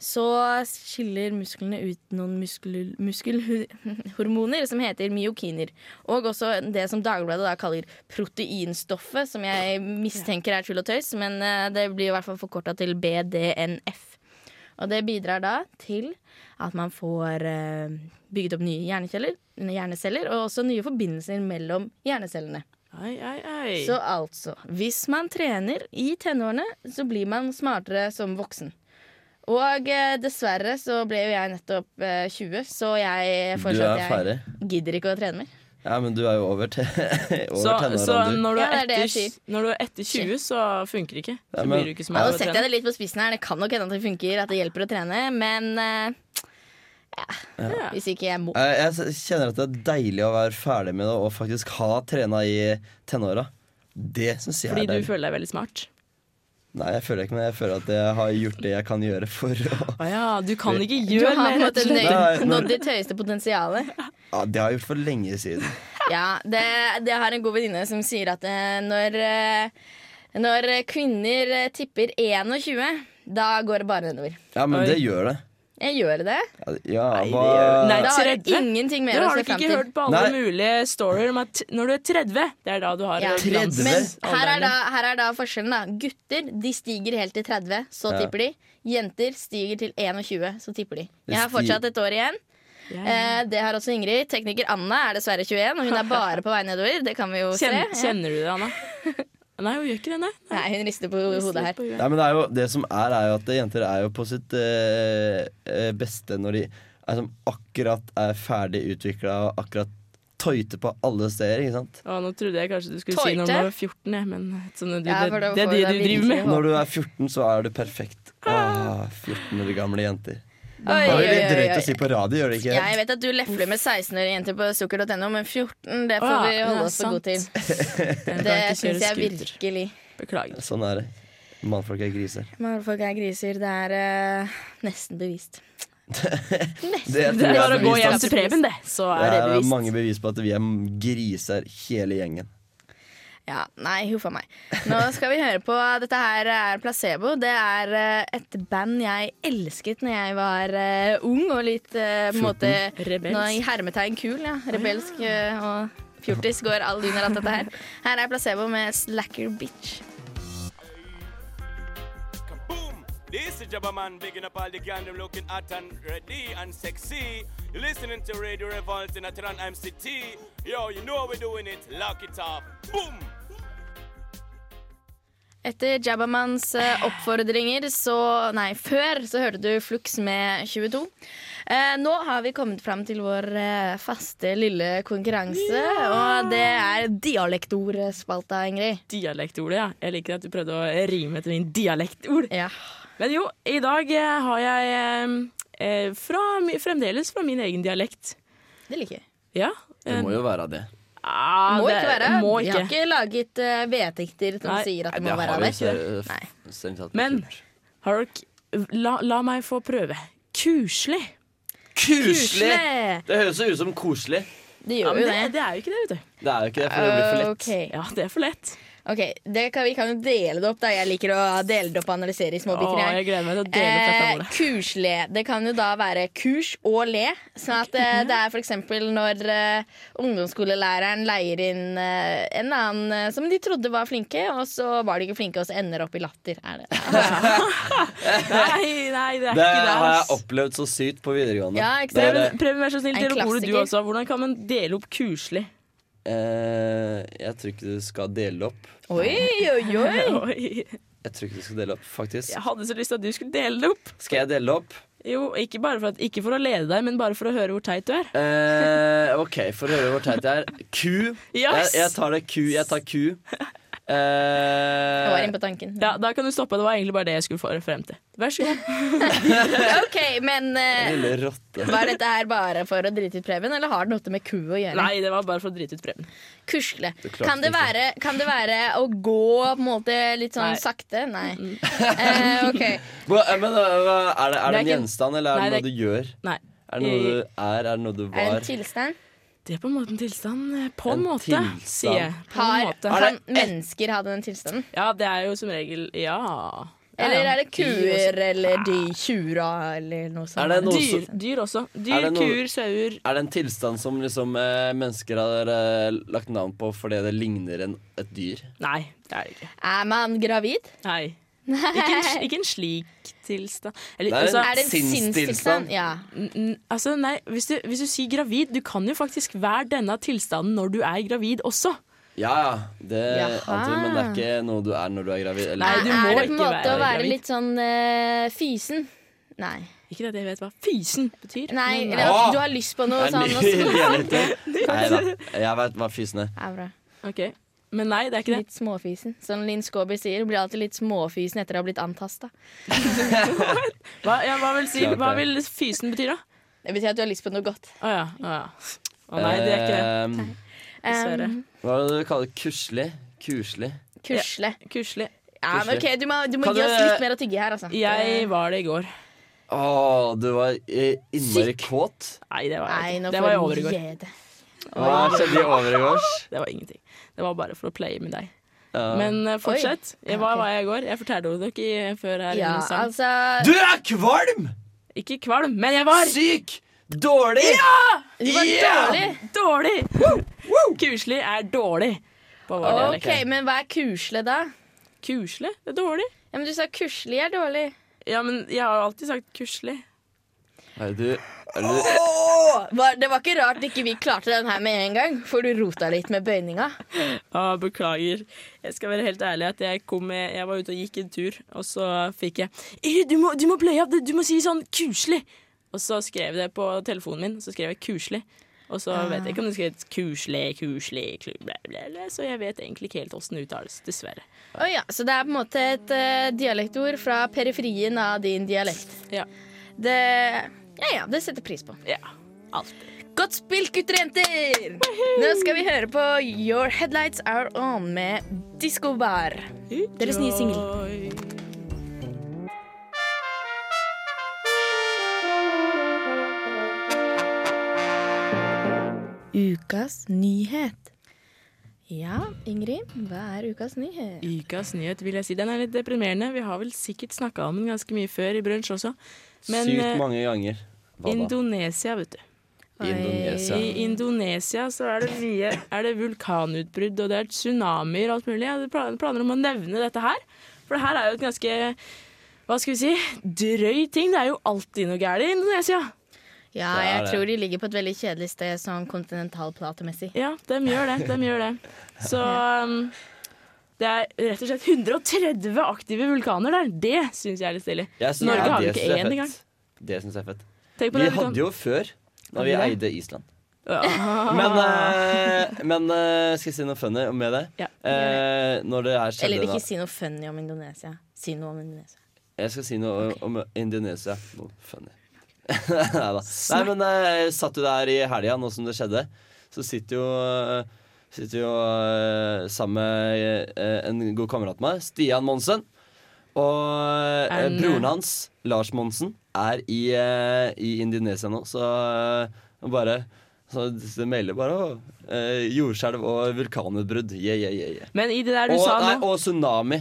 S3: så skiller musklene ut noen muskel, muskelhormoner som heter myokiner. Og også det som Dagbladet da kaller proteinstoffet, som jeg mistenker er tull og tøys, men eh, det blir i hvert fall forkorta til BDNF. Og det bidrar da til at man får eh, bygget opp nye hjerneceller, hjerneceller, og også nye forbindelser mellom hjernecellene.
S5: Ei, ei, ei.
S3: Så altså, hvis man trener i tenårene, så blir man smartere som voksen. Og eh, dessverre så ble jo jeg nettopp eh, 20, så jeg
S6: Du
S3: fortsatt
S6: er
S3: jeg
S6: ferdig.
S3: gidder ikke å trene mer.
S6: Ja, men du er jo over, te over
S5: Så, så
S6: tenåra, du.
S5: når, du er
S3: Ja, det er det jeg
S5: etter, når du er etter 20, så funker det ikke.
S6: Ja,
S5: Så
S6: men-
S5: blir du ikke som
S3: Ja,
S5: alle
S3: nå setter jeg det litt på spissen her, det kan nok hende at det funker, at det hjelper å trene, men eh, ja, hvis ikke jeg må.
S6: Eh, Jeg s- kjenner at det er deilig å være ferdig med det og faktisk ha trena i tenåra. Det syns jeg
S5: Fordi
S6: er
S5: du
S6: deilig.
S5: føler deg veldig smart.
S6: Nei, jeg føler ikke men jeg føler at jeg har gjort det jeg kan gjøre for å
S5: Å ja, du kan ikke
S3: Du
S5: gjøre
S3: har på en
S5: mer.
S3: måte nøyd-
S6: Nei, men-
S3: nådd ditt høyeste potensialet.
S6: ja, Det har jeg gjort for lenge siden.
S3: Ja, det, det har en god venninne som sier at eh, når, eh, når kvinner eh, tipper 21, da går det bare nedover.
S6: Ja, men
S5: Oi.
S6: det gjør det.
S3: Jeg gjør det.
S6: Ja,
S5: det
S6: hva
S5: gjør det. Nei,
S3: Da har jeg
S5: 30?
S3: ingenting mer
S5: Dere
S3: å se
S5: har nok
S3: fram
S5: ikke
S3: til.
S5: hørt på alle
S6: Nei.
S5: mulige storier om at når du er 30, det er da du har
S3: Ja.
S5: glans-
S6: 30?
S3: Men her er,
S5: alderen
S3: da,
S5: din.
S3: her er da forskjellen, da. Gutter de stiger helt til 30, så
S6: Ja.
S3: tipper de. Jenter stiger til 21, så tipper de. Jeg har
S6: sti-
S3: fortsatt et år igjen.
S5: Ja, ja.
S3: Eh, det har også Ingrid. Tekniker Anna er dessverre 21, og hun er bare på vei nedover. Det kan vi jo
S5: Kjen,
S3: se. Ja.
S5: kjenner du det, Anna? Nei, hun gjør ikke det, nei.
S3: Nei, hun rister på hodet her.
S6: Nei, men det, er jo, det som er, er jo at jenter er jo på sitt eh, eh, beste når de er som akkurat er ferdig utvikla og akkurat tøyte på alle steder. ikke sant?
S5: Å, nå trodde jeg kanskje du skulle si
S3: Tøyte?
S5: når du var 14, jeg, men sånn, du,
S3: Ja, for
S5: det,
S3: da
S5: det er
S3: får
S5: det
S3: jeg
S5: du driver
S3: virkelig
S5: med.
S6: Når du er 14, så er du perfekt. Ah, 14 år gamle jenter.
S3: Oi,
S6: Det
S3: oi,
S6: er jo
S3: oi,
S6: litt drøyt å
S3: oi.
S6: si på radio, gjør det ikke?
S3: Jeg vet at du lefler med 16-årige jenter på sukker.no, men 14 det får
S5: Å,
S3: vi
S5: ja,
S3: holde
S5: det er
S3: oss for gode til.
S5: sant. Jeg
S3: Det
S5: kan ikke
S3: syns
S5: kjøre
S3: jeg
S5: scooter.
S3: virkelig.
S5: Beklager.
S6: Sånn er det. Mannfolk er griser.
S3: Mannfolk er griser. Det er eh, nesten bevist.
S6: Det, tror
S5: Det er
S6: jeg
S5: bare å gå
S6: bevist,
S5: hjem
S6: ass.
S5: til Preben, det, så
S6: Det
S5: er det
S6: er
S5: bevist.
S6: mange bevis på at vi er griser, hele gjengen.
S3: Ja, nei, huff a meg. Nå skal vi høre på Dette her er Placebo. Det er eh, et band jeg elsket når jeg var eh, ung og litt eh, på en måte
S5: Rebelsk.
S3: nå, I hermetegn kul, ja. Rebelsk eh, og fjortis går alle under alt dette her. Her er Placebo med Slacker Bitch.
S11: Boom! This is Jabba Man bigging up all the gang. I'm looking hot and ready and sexy. You're listening to Radio Revolt in Atlanta MCT. Yo, you know how we're doing it. Lock it up. Boom!
S3: Etter Jabbamanns eh, oppfordringer så Nei, før så hørte du Flux med 22. Eh, nå har vi kommet fram til vår eh, faste lille konkurranse, og det er dialektordspalta, Ingrid.
S5: Dialektordet, ja. Jeg liker at du prøvde å rime etter min dialektord.
S3: Ja.
S5: Men jo, i dag eh, har jeg eh, eh, fra, mi- fremdeles fra min egen dialekt.
S3: Det liker jeg.
S5: Ja.
S6: Det må jo være det.
S5: ah,
S3: Må
S5: det-
S3: ikke være.
S5: Må
S3: Vi har
S5: ikke.
S3: ikke laget eh, vedtekter som
S5: Nei.
S3: sier at det må være det. Nei.
S5: Men har dere la, la meg få prøve. Kuselig.
S6: Kuselig!
S3: Kuselig!
S6: Det høres jo ut som koselig.
S3: Det
S5: Ja,
S3: gjør
S5: men
S3: jo
S5: det,
S3: det.
S5: det er jo ikke det, vet du.
S6: Det er jo ikke det, for det blir for lett.
S3: Ok.
S5: Ja, det er for lett.
S3: Ok, det kan, Vi kan jo dele det opp. da Jeg liker å dele det opp og analysere i små
S5: Å,
S3: biter. her.
S5: jeg gleder meg til å dele opp dette ordet.
S3: kursle. Det kan jo da være kurs og le. Sånn at
S5: Mhm.
S3: eh, det er f.eks. når eh, ungdomsskolelæreren leier inn eh, en annen eh, som de trodde var flinke, og så var de ikke flinke, og så ender opp i latter. Er det.
S5: Nei, nei, det er
S6: Det
S5: ikke det.
S6: har jeg
S5: ass.
S6: opplevd så sykt på videregående.
S3: Ja, ikke
S6: Det
S3: sant?
S6: er
S5: Preben, Preben, vær så snill,
S3: En
S5: del opp ordet du
S3: klassiker.
S5: også. Hvordan kan man dele opp kuselig?
S6: Eh, jeg tror ikke du skal dele opp.
S3: Oi, oi, oi!
S5: Oi,
S6: Jeg tror ikke du skal dele opp, faktisk.
S5: jeg hadde så lyst til at du skulle dele det opp.
S6: Skal jeg dele opp?
S5: Jo, ikke, bare for at, ikke for å lede deg, men bare for å høre hvor teit du er.
S6: Eh, ok, for å høre hvor teit jeg er. Ku.
S5: Yes!
S6: Jeg, jeg tar det ku. Jeg tar ku. Jeg
S3: var inne på tanken.
S5: Ja, Da kan du stoppe. Det var egentlig bare det jeg skulle få frem til. Vær så god.
S3: OK, men eh,
S6: Lille rotte.
S3: var dette her bare for å drite ut Preben, eller har det noe med ku å gjøre?
S5: Nei, det var bare for å drite ut Preben.
S3: Kusle.
S6: Du klarte
S3: Kan det,
S6: det ikke.
S3: være, kan det være å gå på en måte litt sånn
S5: Nei.
S3: sakte? Nei. Eh, ok.
S6: Hva, eh, men, eh, hva- er det, er det
S5: Det er
S6: en
S5: ikke-
S6: gjenstand, eller er
S5: Nei,
S6: det noe
S5: det
S6: du gjør?
S5: Nei. Eh,
S6: Er det noe du er? Er det noe du
S3: Er det
S6: var?
S3: en tilstand?
S5: Det er på en måte en tilstand. eh, På en
S6: En
S5: måte,
S6: tilstand.
S5: sier jeg. På en
S3: Har,
S5: måte.
S3: kan mennesker ha den tilstanden?
S5: Ja, det er jo som regel Ja. Ja,
S3: Eller
S5: ja.
S3: er det kuer eller de tjura eller noe sånt?
S6: Er det noe
S5: Dyr,
S6: som-
S5: dyr også.
S6: Er
S5: Dyr,
S6: det noe-
S5: kuer, sauer.
S6: Er det en tilstand som liksom, eh, mennesker har eh, lagt navn på fordi det ligner en, et dyr?
S5: Nei, det er det ikke.
S3: Er man gravid?
S5: Nei. Ikke, en, sl- ikke en slik tilstand. Eller,
S6: Nei,
S5: altså,
S3: Er det en
S6: Sinnstilstand.
S3: sinnstilstand? Ja.
S5: n- n- altså, nei, hvis, du, hvis du sier gravid Du kan jo faktisk være denne tilstanden når du er gravid også.
S6: Ja, ja. Det
S3: Jaha.
S6: antar jeg, men det er ikke noe du er når du er gravid. Eller?
S5: Nei, du må
S3: er det på
S5: ikke
S3: en måte
S5: være
S3: å være
S5: gravid.
S3: litt sånn eh, fysen? Nei.
S5: Ikke at jeg vet hva fysen betyr.
S3: Nei,
S5: men-
S3: eller
S6: Åh!
S3: at du har lyst på noe
S6: Jeg
S3: sånn og
S6: ler-
S3: så
S6: ler litt. Nei da. Jeg veit hva fysen er.
S3: Ja, bra.
S5: Ok. men nei, det er ikke det.
S3: Litt småfisen. Som Linn Skåber sier, blir alltid litt småfisen etter å ha blitt antasta.
S5: Hva, ja, hva, vil si,
S6: Klart
S5: hva
S6: det.
S5: vil fysen bety, da?
S3: Det betyr at du har lyst på noe godt.
S5: Å ja. Å ja. Å nei, det er ikke det.
S6: Eh,
S5: Dessverre.
S3: Um,
S6: hva er det du kaller det? Kuslig? Kuslig?
S3: kusle.
S5: Kuselig.
S3: Ja, men ok, Du må, du må
S6: Kan
S3: gi oss
S6: du-
S3: litt mer å tygge her, altså.
S5: Jeg var det i går.
S6: Å, du var eh, innmari kåt.
S5: Nei, det var
S3: Nei,
S5: jeg
S3: nå
S5: ikke. Det var i
S3: får
S5: over
S3: du
S5: i går.
S3: gi det.
S6: Hva skjedde i overgårs?
S5: Det var ingenting. Det var bare for å playe med deg.
S6: Ja.
S5: Men eh, fortsett.
S3: Ja,
S5: Hva
S3: ok.
S5: var jeg i går? Jeg fortalte dere ikke før her.
S3: Ja,
S5: inne i sang.
S3: altså
S6: Du er kvalm!
S5: Ikke kvalm, men jeg var
S6: Syk! Dårlig!
S3: Du var
S6: Ja!
S3: dårlig!
S5: dårlig! Kuselig er dårlig på vår dialekt.
S3: OK, men hva er kusle, da?
S5: Kuselig? Det er dårlig.
S3: Ja, men Du sa kuslig er dårlig.
S5: Ja, men jeg har jo alltid sagt kuselig.
S6: Er du, er du
S3: Var- Det var ikke rart ikke vi klarte den her med en gang, for du rota litt med bøyninga.
S5: Ah, beklager. Jeg skal være helt ærlig at jeg, kom med, jeg var ute og gikk en tur, og så fikk jeg «Eh, Du må, du må pløye opp det! Du må si sånn kuselig! Og så skrev jeg det på telefonen min, så skrev jeg kuselig. Og så vet jeg ikke om det skrev kuselig, kuselig, klu- blæ, blæ, blæ, så jeg vet egentlig ikke helt åssen det uttales, dessverre.
S3: Å ja, så det er på en måte et eh, dialektord fra periferien av din dialekt.
S5: Ja.
S3: Det Ja ja, det setter pris på.
S5: Ja. Alt.
S3: Godt spilt, gutter og jenter! Nå skal vi høre på Your Headlights Are On med Disco Bar. Deres nye
S5: singel.
S10: Ukas nyhet.
S3: Ja, Ingrid, hva er ukas nyhet?
S5: Ukas nyhet vil jeg si. Den er litt deprimerende. Vi har vel sikkert snakka om den ganske mye før i brunsj også. Men
S6: sykt
S5: eh,
S6: mange ganger? Hva da?
S5: Indonesia, vet du.
S6: Indonesia.
S5: I Indonesia så er det mye Er det vulkanutbrudd, og det er tsunamier og alt mulig. Jeg hadde pla- planer om å nevne dette her. For det her er jo et ganske Hva skal vi si? Drøy ting. Det er jo alltid noe gærent i Indonesia.
S3: Ja,
S6: Det er
S3: jeg
S6: det.
S3: tror de ligger på et veldig kjedelig sted sånn kontinentalplatemessig.
S5: Ja, de gjør det. Dem gjør det. Så um, det er rett og slett 130 aktive vulkaner der. Det syns jeg er litt stilig.
S6: Jeg synes-
S5: Norge
S6: ja,
S5: har jo
S6: det
S5: ikke
S6: synes jeg er
S5: én engang.
S6: fett. Det syns jeg er fett.
S5: Tenk på
S6: Vi
S5: det.
S6: hadde jo før, da vi
S5: Hadde Ah.
S6: eide Island.
S5: Ja.
S6: Men, eh, men eh, skal jeg si noe funny med det?
S5: Ja.
S6: Eh, når det her skjedde
S3: Eller
S6: da
S3: ikke si noe funny om Indonesia. Si noe om Indonesia.
S6: Jeg skal si noe om Indonesia. Noe funny. Neida. Nei, men eh, jeg satt jo der i helga, nå som det skjedde. Så sitter jo, eh, sitter jo eh, sammen med eh, en god kamerat av meg, Stian Monsen. Og eh,
S5: En-
S6: broren hans, Lars Monsen, er i, eh, i Indonesia nå, så eh, han bare så det melder bare å, eh, jordskjelv og vulkanutbrudd. Yeah, yeah, yeah, yeah.
S5: Men i det der du
S6: Og,
S5: sa
S6: nei,
S5: nå,
S6: og tsunami.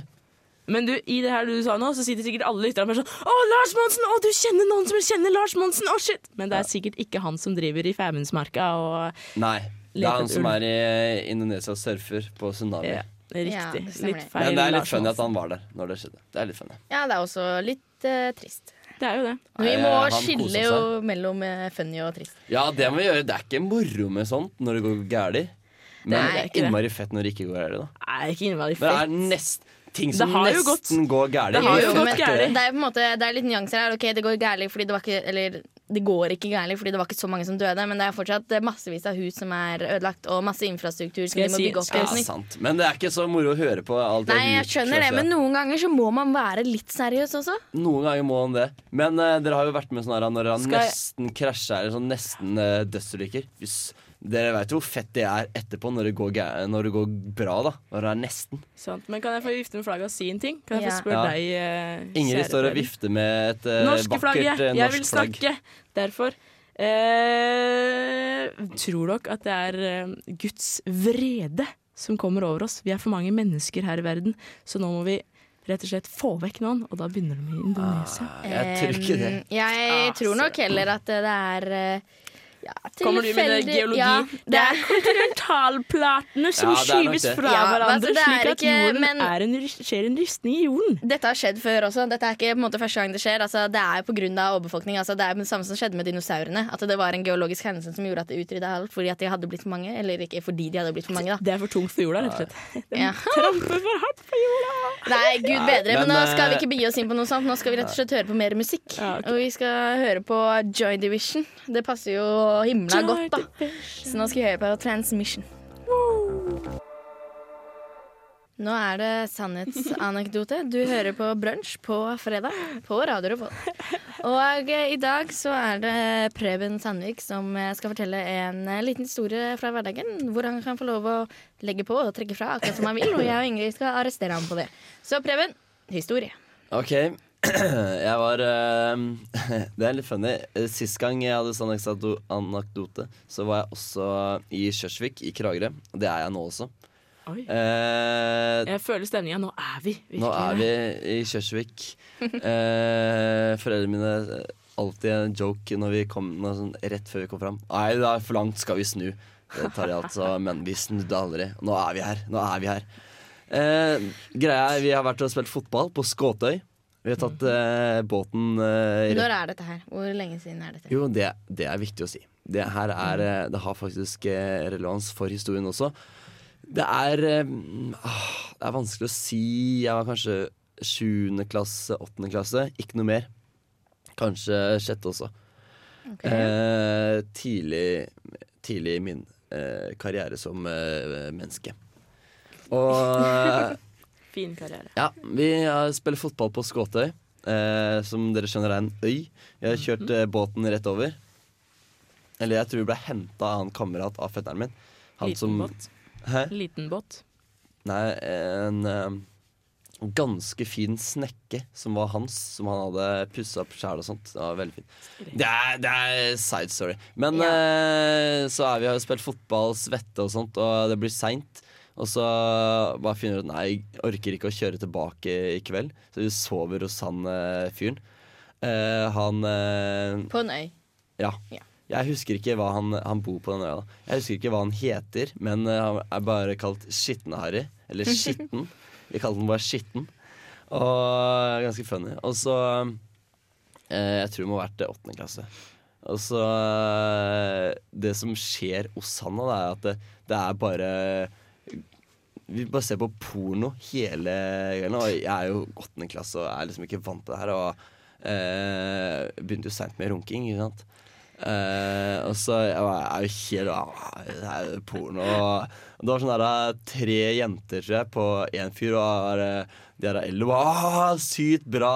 S5: Men du, i det her du sa nå, så sitter sikkert alle lytterne bare sånn Å, Lars Monsen! Å, du kjenner noen som kjenner Lars Monsen! Å, shit! Men det er sikkert ikke han som driver i Femundsmarka og
S6: Nei. Det
S5: Leter
S6: er han
S5: etter
S6: som
S5: ulv.
S6: er i Indonesia og surfer på tsunami.
S5: ja,
S3: Ja,
S5: eh, Riktig.
S3: det stemmer
S5: litt
S3: det.
S5: feil.
S6: Men det er litt
S5: Lars
S6: funny at
S5: Monsen.
S6: han var der når det skjedde. Det er litt funny.
S3: Ja, det er også litt eh, trist.
S5: Det er jo det.
S3: Vi
S6: Nei,
S3: må
S6: han koser
S3: skille
S6: seg.
S3: jo mellom eh, funny og trist.
S6: Ja, det må vi gjøre. Det er ikke moro med sånt når det går gærlig. Men
S3: Nei,
S6: det er
S5: ikke det.
S6: innmari fett når det ikke går gærlig, da.
S5: Nei, ikke innmari
S6: Men det
S5: fett.
S6: er nest, ting
S5: Det
S6: som
S5: har jo gått-
S6: nesten går gærlig.
S5: Det har jo
S3: Jo,
S5: gått
S3: men
S5: gærlig.
S3: Det er på en måte, det er litt nyanser her. Ok, det går gærlig fordi det var ikke Eller det går ikke gærent, fordi det var ikke så mange som døde. Men det er fortsatt eh, massevis av hus som er ødelagt, og masse infrastruktur som
S5: Skal
S3: de
S5: jeg
S3: må
S5: si-
S3: bygge opp.
S6: Ja,
S3: igjen.
S6: sant. Men det er ikke så moro å høre på alt det
S3: Nei, jeg skjønner det, men noen ganger så må man være litt seriøs også.
S6: Noen ganger må han det. Men eh, dere har jo vært med sånn her når han
S5: Skal jeg-
S6: nesten krasja eller sånn nesten eh, dødsulykker. Jøss. Dere veit jo hvor fett det er etterpå når det går, gæ- når det går bra, da. Når det er nesten.
S5: Sant. Men kan jeg få vifte med flagget og si en ting? Kan jeg
S3: Ja.
S5: få spørre
S6: Ja.
S5: deg, eh,
S6: Ingrid
S5: kjære
S6: står og
S5: Fredrik?
S6: vifter med et eh,
S5: Norske
S6: vakkert
S5: flagget!
S6: eh,
S5: Jeg
S6: norsk
S5: vil
S6: flagg.
S5: snakke! Derfor. Eh, tror dere at det er eh, Guds vrede som kommer over oss? Vi er for mange mennesker her i verden, så nå må vi rett og slett få vekk noen. Og da begynner de i Indonesia.
S6: Ah, Jeg tror ikke det.
S3: Em,
S5: Ah,
S3: Jeg tror nok heller at det er eh, ja,
S5: Kommer du med det
S3: tilfeldig-
S5: geologi?
S3: Ja,
S5: det er kontinentalplatene som
S6: Ja, det er nok
S5: skyves
S6: det.
S5: fra
S3: Ja, altså, det
S5: hverandre,
S3: er
S5: slik at
S3: ikke-
S5: jorden
S3: men-
S5: er en, rys- skjer en rystning i jorden.
S3: Dette har skjedd før også. Dette er ikke på en måte første gang det skjer. Altså, det er pga. overbefolkning. Altså, det er det samme som skjedde med dinosaurene. At det var en geologisk hendelse som gjorde at det utrydda alt fordi at de hadde blitt for mange. Eller ikke fordi de hadde blitt for mange, da.
S5: Det er for tungt for jorda, rett og slett.
S3: Ja.
S5: Trampe for hardt på jorda!
S3: Nei, gud bedre. Men
S6: men,
S3: nå skal
S6: eh,
S3: vi ikke begi oss inn på noe sånt. Nå skal vi rett og slett høre på mer musikk.
S5: Ja, ok.
S3: Og vi skal høre på Joy Division. Det passer jo himla godt, da. Så nå skal vi høre på Transmission. Nå er det sannhetsanekdote. Du hører på Brunsj på fredag på Radio Revolt. Og eh, i dag så er det Preben Sandvik som eh, skal fortelle en eh, liten historie fra hverdagen. Hvor han kan få lov å legge på og trekke fra akkurat som han vil. Og jeg og Ingrid skal arrestere ham på det. Så Preben, historie.
S6: Ok, jeg var eh, Det er litt funny. Eh, Sist gang jeg hadde sånn anekdoto- anekdote, så var jeg også i Kjørsvik i Kragerø. Og det er jeg nå også.
S5: Oi.
S6: Eh,
S5: Jeg føler stemninga. Nå er vi virkelig
S6: nå er
S5: der.
S6: vi i Kjørsvik. Eh, foreldrene mine eh, alltid en joke når vi kom, når, sånn, rett før vi kom fram. Nei, det er for langt, skal vi snu. Det tar de altså, men vi snudde aldri. Nå er vi her. Nå er vi her. Eh, greia er, vi har vært og spilt fotball på Skåtøy. Vi har tatt eh, båten eh, rett
S3: Når er dette her? Hvor lenge siden er dette?
S6: jo, det, det er viktig å si. Det her er, eh, det har faktisk eh, relevans for historien også. Det er eh, ah, Det er vanskelig å si. Jeg var kanskje sjuende klasse, åttende klasse. Ikke noe mer. Kanskje sjette også. Eh, tidlig, tidlig i min eh, karriere som eh, menneske. Og eh,
S5: Fin karriere.
S6: ja, vi har- spiller fotball på Skåtøy, eh, som dere skjønner er en øy. Vi har kjørt
S5: Mhm.
S6: eh, båten rett over. Eller jeg tror vi ble henta av en kamerat av fetteren min. Han
S5: Liten
S6: som
S5: båt.
S6: Hæ?
S5: Liten båt.
S6: Nei, en eh, ganske fin snekke som var hans, som han hadde pussa opp sjæl og sånt. Det var veldig fint. Det er, det er side story. Men eh, så er vi har jo spilt fotball, svette og sånt, og det blir seint. Og så bare finner du ut Nei, jeg orker ikke å kjøre tilbake i kveld. Så vi sover hos han eh, fyren. Eh, han eh,
S3: På en øy.
S6: ja.
S3: Ja.
S6: Jeg husker ikke hva han, han bor på den øya. da. Jeg husker ikke hva han heter, men eh, han er bare kalt Skitne-Harry. Eller Skitten. Vi kalte den bare Skitten. Og ganske funny. Og så eh, Jeg tror det må ha vært eh, åttende klasse. Og så eh, Det som skjer hos han, da, det er at det, det er bare vi bare ser på porno hele kvelden. Og jeg er jo åttende klasse og er liksom ikke vant til det her. Og eh, begynte jo seint med runking, ikke sant. Eh, og så jeg var, jeg er jo helt ah, Det er jo porno. Og det var sånn der eh, tre jenter tror jeg, på én fyr, og eh, de er av LO. Ah, sykt bra!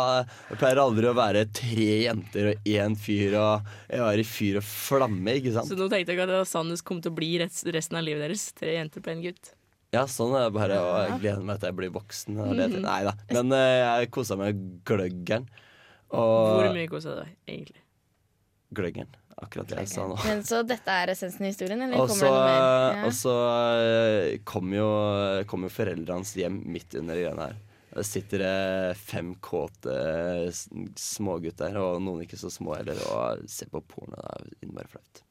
S6: Det pleier aldri å være tre jenter og én fyr, og jeg var i fyr og flamme, ikke sant.
S5: Så nå tenkte jeg ikke at det var sånn det kom til å bli rest- resten av livet deres. Tre jenter på en gutt.
S6: Ja, sånn er det bare. Og jeg gleder meg til jeg blir voksen. Og
S3: Mm.
S6: det, nei da. Men eh, jeg kosa meg gløggeren.
S5: Hvor
S6: Og
S5: mye kosa du deg, egentlig?
S6: gløggeren. Akkurat det jeg sa nå.
S3: Men så dette er essensen i historien, eller
S6: Og
S3: kommer
S6: så, eh,
S3: det noe mer? Ja.
S6: og så eh, kom jo, kom jo foreldrene hans hjem midt under de greiene her. Der sitter det fem kåte s- smågutter, og noen ikke så små heller, og ser på porno. Det er innmari flaut.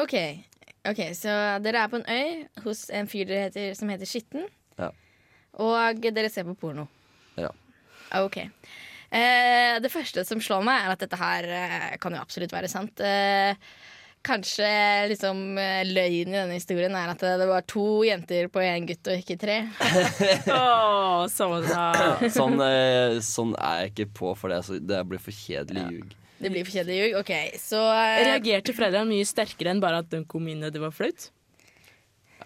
S3: Ok, ok, så dere er på en øy hos en fyr dere heter, som heter Skitten.
S6: Ja.
S3: Og dere ser på porno.
S6: Ja.
S3: Ok. Eh, det første som slår meg, er at dette her eh, kan jo absolutt være sant. Eh, kanskje liksom eh, løgnen i denne historien er at det var to jenter på én gutt og ikke tre.
S5: Åh, sånn da.
S6: Sånn, eh, sånn er jeg ikke på for det. Så det blir for kjedelig ljug.
S3: Det blir for kjedelig ljug. OK, så eh,
S5: Reagerte foreldrene mye sterkere enn bare at den kom inn og det var flaut?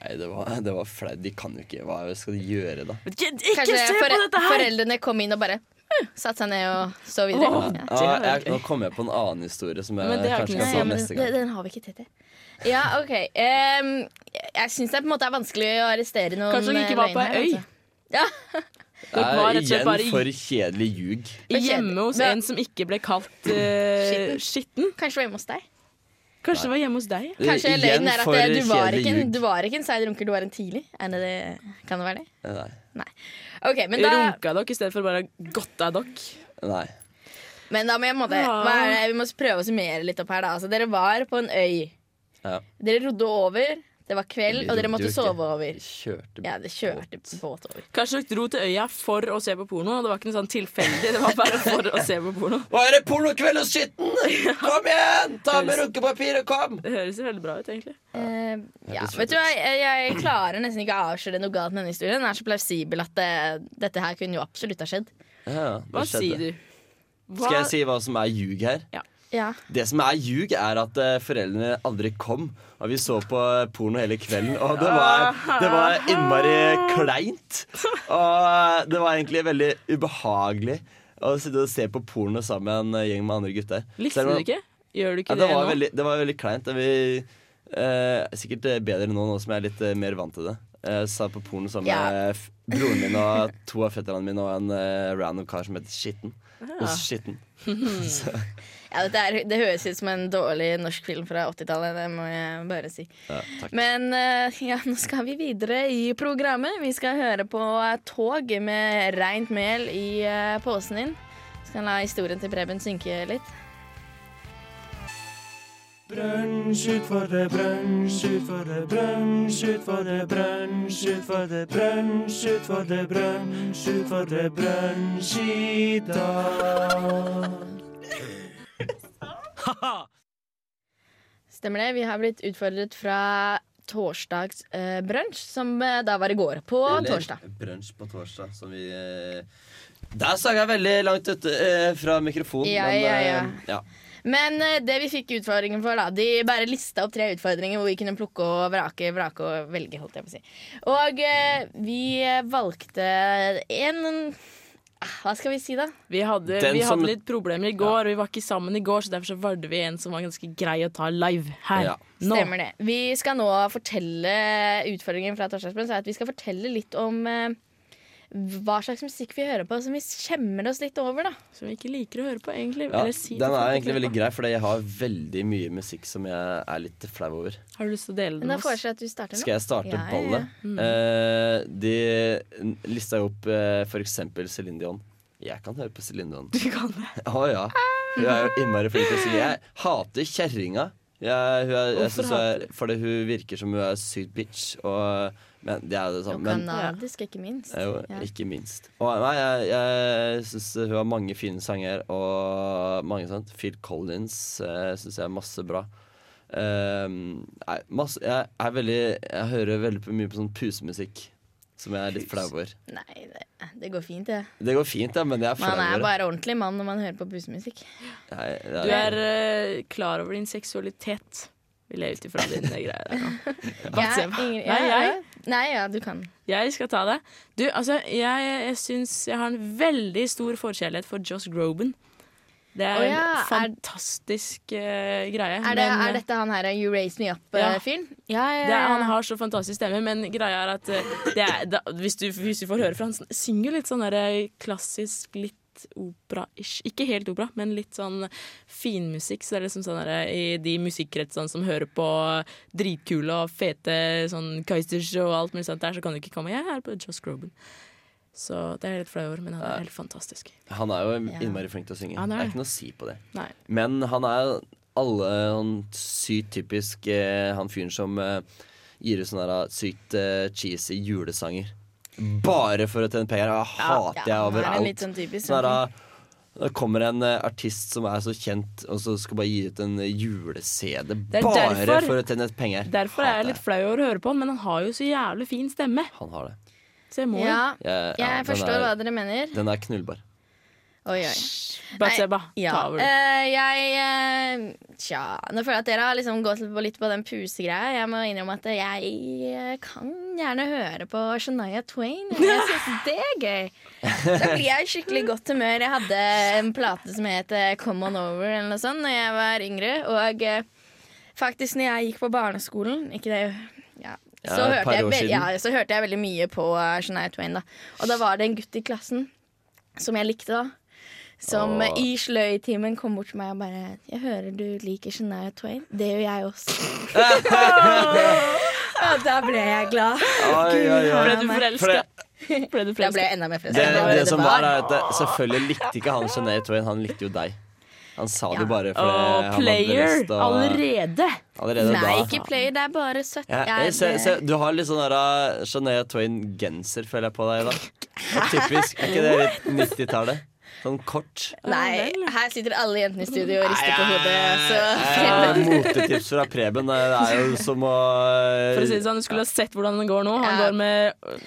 S6: Nei, det var, det var flaut. De kan jo ikke Hva skal de gjøre, da?
S5: Ikke,
S3: Kanskje
S5: se på
S3: fore
S5: dette her!
S3: foreldrene kom inn og bare hm, satte seg ned og så videre.
S5: Åh.
S3: Ja.
S6: Ja,
S5: var
S6: jeg, nå kom jeg på en annen historie som jeg
S5: Men det er ikke
S6: kanskje
S5: noe-
S6: kan
S3: Nei,
S6: ta
S3: ja, men
S6: neste
S3: den,
S6: gang.
S3: den har vi ikke tid til. Ja, OK. Ehm, jeg syns det på en måte er vanskelig å arrestere noen
S5: Kanskje hun
S3: eh,
S5: ikke var på
S3: løgn her,
S5: ei øy?
S3: altså. Ja.
S6: Det
S5: Det var
S6: er
S5: rett og slett bare
S6: igjen for kjedelig ljug.
S5: Hjemme hos
S3: Men-
S5: en som ikke ble kalt eh, skitten.
S3: Kanskje det var hjemme hos deg.
S5: Kanskje det var hjemme hos deg? ja.
S3: Kanskje
S6: Igjen
S3: løgnen er at
S6: for
S3: eh, du var,
S6: kjedelig
S3: ikke, en-
S6: ljug.
S3: du var ikke en seig runker, du var en tidlig. Er det, det- kan det være det?
S6: Nei.
S3: OK, men da,
S5: Runka dere i stedet for bare godta dere?
S6: Nei.
S3: men da må jeg på en måte hva er det, Vi må prøve å summere litt opp her, da. Altså, dere var på en øy.
S6: Ja.
S3: Dere rodde over. Det var kveld, og
S6: Vi
S3: dere
S6: rodde jo
S3: måtte
S6: ikke.
S3: sove over.
S6: Kjørte
S3: Ja, det kjørte båt over.
S5: Kanskje dere dro til øya for å se på porno? og Det var ikke noe sånn tilfeldig. Det var bare for å se på porno.
S6: Hva er det pornokveld og skitten? Kom igjen! Ta med runkepapiret, kom!
S5: Det høres jo veldig bra ut, egentlig.
S3: Eh, ja,
S6: Hørtes
S3: vet du hva, jeg, jeg klarer nesten ikke å avsløre noe galt med denne historien. Den er så plausibel at eh, dette her kunne jo absolutt ha skjedd.
S6: Ja, det
S5: Hva
S6: skjedde.
S5: sier du? Hva-
S6: Skal jeg si hva som er ljug her?
S3: Ja.
S6: Det som er ljug, er at eh, foreldrene aldri kom. Og vi så på eh, porno hele kvelden, og det var, det var innmari kleint. Og eh, det var egentlig veldig ubehagelig å sitte og se på porno sammen med en gjeng med andre gutter.
S5: Likte
S6: Selv
S5: du
S6: om-
S5: ikke? Gjør du ikke
S6: Ja, det,
S5: det,
S6: var
S5: nå?
S6: veldig, det var veldig kleint. og Vi, eh, sikkert eh, bedre nå, nå som jeg er litt eh, mer vant til det. Jeg sa på porno sammen
S3: Ja.
S6: med f- broren min og to av fetterne mine og en eh, random kar som heter Skitten.
S5: Ah.
S6: Hos Skitten.
S3: Ja, dette er, det høres ut som en dårlig norsk film fra 80-tallet, det må jeg bare si.
S6: Ja, takk.
S3: Men eh, ja, nå skal vi videre i programmet. Vi skal høre på eh, Tog med reint mel i eh, posen din. Skal la historien til Preben synke litt. Stemmer det. Vi har blitt utfordret fra torsdags eh, brunch, som eh, da var i går. På torsdag.
S6: Brunsj på torsdag, som vi eh, Der sang jeg veldig langt ute eh, fra mikrofonen,
S3: Ja,
S6: men
S3: ja,
S6: eh,
S3: ja.
S6: ja.
S3: Men eh, det vi fikk utfordringen for, da De bare lista opp tre utfordringer hvor vi kunne plukke og vrake, vrake og velge, holdt jeg på å si. Og eh, vi valgte en ah, Hva skal vi si, da?
S5: Vi hadde,
S6: Den
S5: vi
S6: som-
S5: hadde litt problemer i går, vi var ikke sammen i går, så derfor så valgte vi en som var ganske grei å ta live her.
S6: Ja.
S5: Nå.
S3: Stemmer det. Vi skal nå fortelle utfordringen fra Torsdagsbønn. Så er at vi skal fortelle litt om eh, hva slags musikk vi hører på som vi skjemmer oss litt over, da.
S5: Som vi ikke liker å høre på, egentlig.
S6: ja.
S5: Eller si til
S6: Den
S5: folk
S6: er
S5: at
S6: egentlig
S5: vi hører
S6: veldig grei, for jeg har veldig mye musikk som jeg er litt flau over.
S5: på. Har du lyst til å dele den
S3: Men da
S5: med oss?
S3: foreslår jeg at du starter nå.
S6: Skal jeg
S3: Ja,
S6: starte
S3: ja, Mm. ja.
S6: ballet? Eh, de n- lista jo opp eh, for eksempel Céline Dion. Jeg kan høre på Céline Dion.
S5: Du kan det.
S6: Å ja. Hun er jo innmari flink til å synge. Jeg hater kjerringa. Jeg, hun er, jeg
S5: Hvorfor
S6: synes hun er, fordi hun virker som hun er sykt bitch. Og, men det er jo det
S3: Og
S6: samme. Men,
S3: kanadisk, ikke minst.
S6: jo,
S3: Ja.
S6: Eh, ikke minst. Og, nei, jeg, jeg syns hun har mange fine sanger, og mange sånt. Phil Collins uh, syns jeg er masse bra. Ehm, nei, masse, jeg, er veldig, jeg hører veldig på- mye på sånn pusemusikk, som jeg er litt flau over.
S3: Nei, det, det går fint, det.
S6: Det går fint, ja, men jeg er flau
S3: Man er
S6: over det.
S3: bare ordentlig mann når man hører på busemusikk.
S6: Jeg- jeg-
S5: Du er eh, klar over din seksualitet, vil jeg ut ifra dine greier her nå. Bare se
S3: Jeg-
S5: hva-
S3: Ingrid-
S5: Nei,
S3: ja,
S5: jeg,
S3: ja. Nei, ja, du kan.
S5: jeg skal ta det. Du, altså, jeg, jeg syns jeg har en veldig stor forkjærlighet for Joss Groban. Det er
S3: Å ja,
S5: en
S3: er-
S5: fantastisk eh, greie.
S3: Er, det,
S5: men,
S3: er dette han her eh, You Raise Me
S5: Ja.
S3: Up-fyren? Ja. ja,
S5: Det, er- han har så fantastisk stemme, men greia er at eh, det er, da, hvis, du, hvis du får høre fra han, sn- synger litt sånn der eh, klassisk, litt opera-ish. Ikke helt opera, men litt sånn finmusikk. Så det er liksom sånn der, eh, i de musikkretsene som hører på dritkule og fete sånn Keizers og alt mulig sånt der, så kan du ikke komme. Jeg er på Joss Groban. Så det er jeg litt flau over, men han er helt fantastisk.
S6: Han er jo
S3: Ja.
S6: innmari flink til å synge.
S5: Han er
S6: det er
S5: det.
S6: ikke noe å si på det.
S5: Nei.
S6: Men han er alle han sykt typisk eh, han fyren som eh, gir ut sånne her, sykt eh, cheesy julesanger. Bare for å tjene penger. Det hater jeg
S3: han er en
S6: overalt.
S3: litt sånn typisk
S6: Sånn her,
S3: sånn.
S6: da kommer en eh, artist som er så kjent, og så skal bare gi ut en eh, jule-CD.
S5: er
S6: Bare
S5: derfor-
S6: for å tjene penger.
S5: Derfor er jeg
S6: Hater
S5: litt flau over å høre på han, men han har jo så jævlig fin stemme.
S6: Han har det.
S5: Så jeg må jo
S3: Ja,
S6: Jeg, ja,
S3: jeg
S6: den
S3: forstår hva
S6: er,
S3: dere mener.
S6: Den er knullbar.
S3: Oi, oi.
S5: Batseba,
S3: Ja.
S5: ta over du.
S3: eh, jeg eh, Tja, nå føler jeg at dere har liksom gått litt på- litt på den pusegreia. Jeg må innrømme at jeg eh, kan gjerne høre på Shania Twain. Jeg syns det er gøy. Da blir jeg i skikkelig godt humør. Jeg hadde en plate som het eh, Come On Over eller noe sånt da jeg var yngre. Og eh, faktisk når jeg gikk på barneskolen Ikke det ja.
S6: Ja,
S3: Så,
S6: et par
S3: hørte jeg,
S6: år
S3: vel-
S6: siden.
S3: ja, så hørte jeg veldig mye på eh, Shania Twain. Da. Og da var det en gutt i klassen som jeg likte da. Som
S6: Åh.
S3: i sløytimen kom bort til meg og bare 'Jeg hører du liker Shania Twain.' Det gjør jeg også. og da ble jeg glad.
S6: Oi, oi, oi.
S5: Ble du
S6: For
S5: forelska?
S6: det,
S5: Ble du
S3: Da ble jeg
S5: forelska?
S3: enda mer
S6: det,
S3: frustrert.
S6: det som var, er at det, selvfølgelig likte ikke han Jeanette Twain, han likte jo deg. Han sa det jo bare fordi han
S5: Å,
S6: hadde
S5: player
S6: lyst til å-
S5: allerede.
S6: allerede
S3: Nei,
S6: da.
S3: ikke player, det er bare søtt.
S6: Ja,
S3: Jeg-
S6: jeg ser- ser- du har litt sånn der, uh, Jeanette Twain-genser, føler jeg på deg i dag. Det er Typisk. Er ikke det litt 90-tallet? Sånn kort.
S3: Nei, her sitter alle jentene i studio og rister på hodet. Så
S6: Ja, Eh, Motetips fra Preben. eh, Det er jo som å eh,
S5: For å si det sånn, Du skulle ha sett hvordan det går nå.
S3: Ja.
S5: Han går med øh,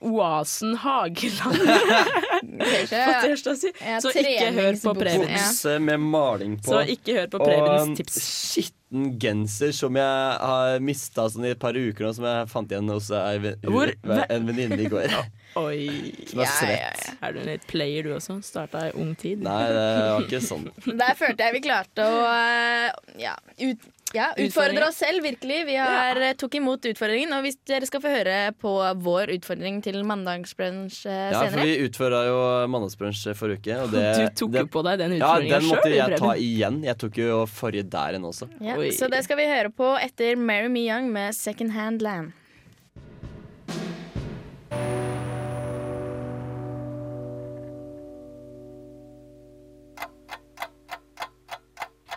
S5: Oasen Hageland på
S3: kanskje
S5: tirsdag si.
S3: Ja,
S5: Så ikke hør på
S3: treningsbukse.
S5: Preben.
S6: Bukse med maling på.
S5: Så ikke hør på
S6: og um,
S5: Prebens
S6: en
S5: tips.
S6: skitten genser som jeg har mista sånn i et par uker nå, som jeg fant igjen hos ei ve-
S5: Hvor?
S6: en venninne i går.
S5: Oi.
S6: Som er svett.
S5: Er du en litt player du også? Starta i ung tid?
S6: Nei, det var ikke sånn.
S3: Der følte jeg vi klarte å eh, ja, ut, ja,
S5: Utfordringer.
S3: utfordre oss selv, virkelig. Vi har, eh, tok imot utfordringen. Og hvis dere skal få høre på vår utfordring til mandagsbrunsj eh,
S6: Ja, for
S3: senere
S6: vi utføra jo mandagsbrunsj forrige uke, og det
S5: Du tok
S6: det-
S5: jo på deg den
S6: Ja,
S5: utfordringa
S6: den
S5: sjøl,
S6: måtte jeg ta
S5: Preben.
S6: igjen. Jeg tok jo forrige der igjen også.
S3: ja,
S5: Oi.
S3: Så det skal vi høre på etter Mary Me Young med Second Hand Land.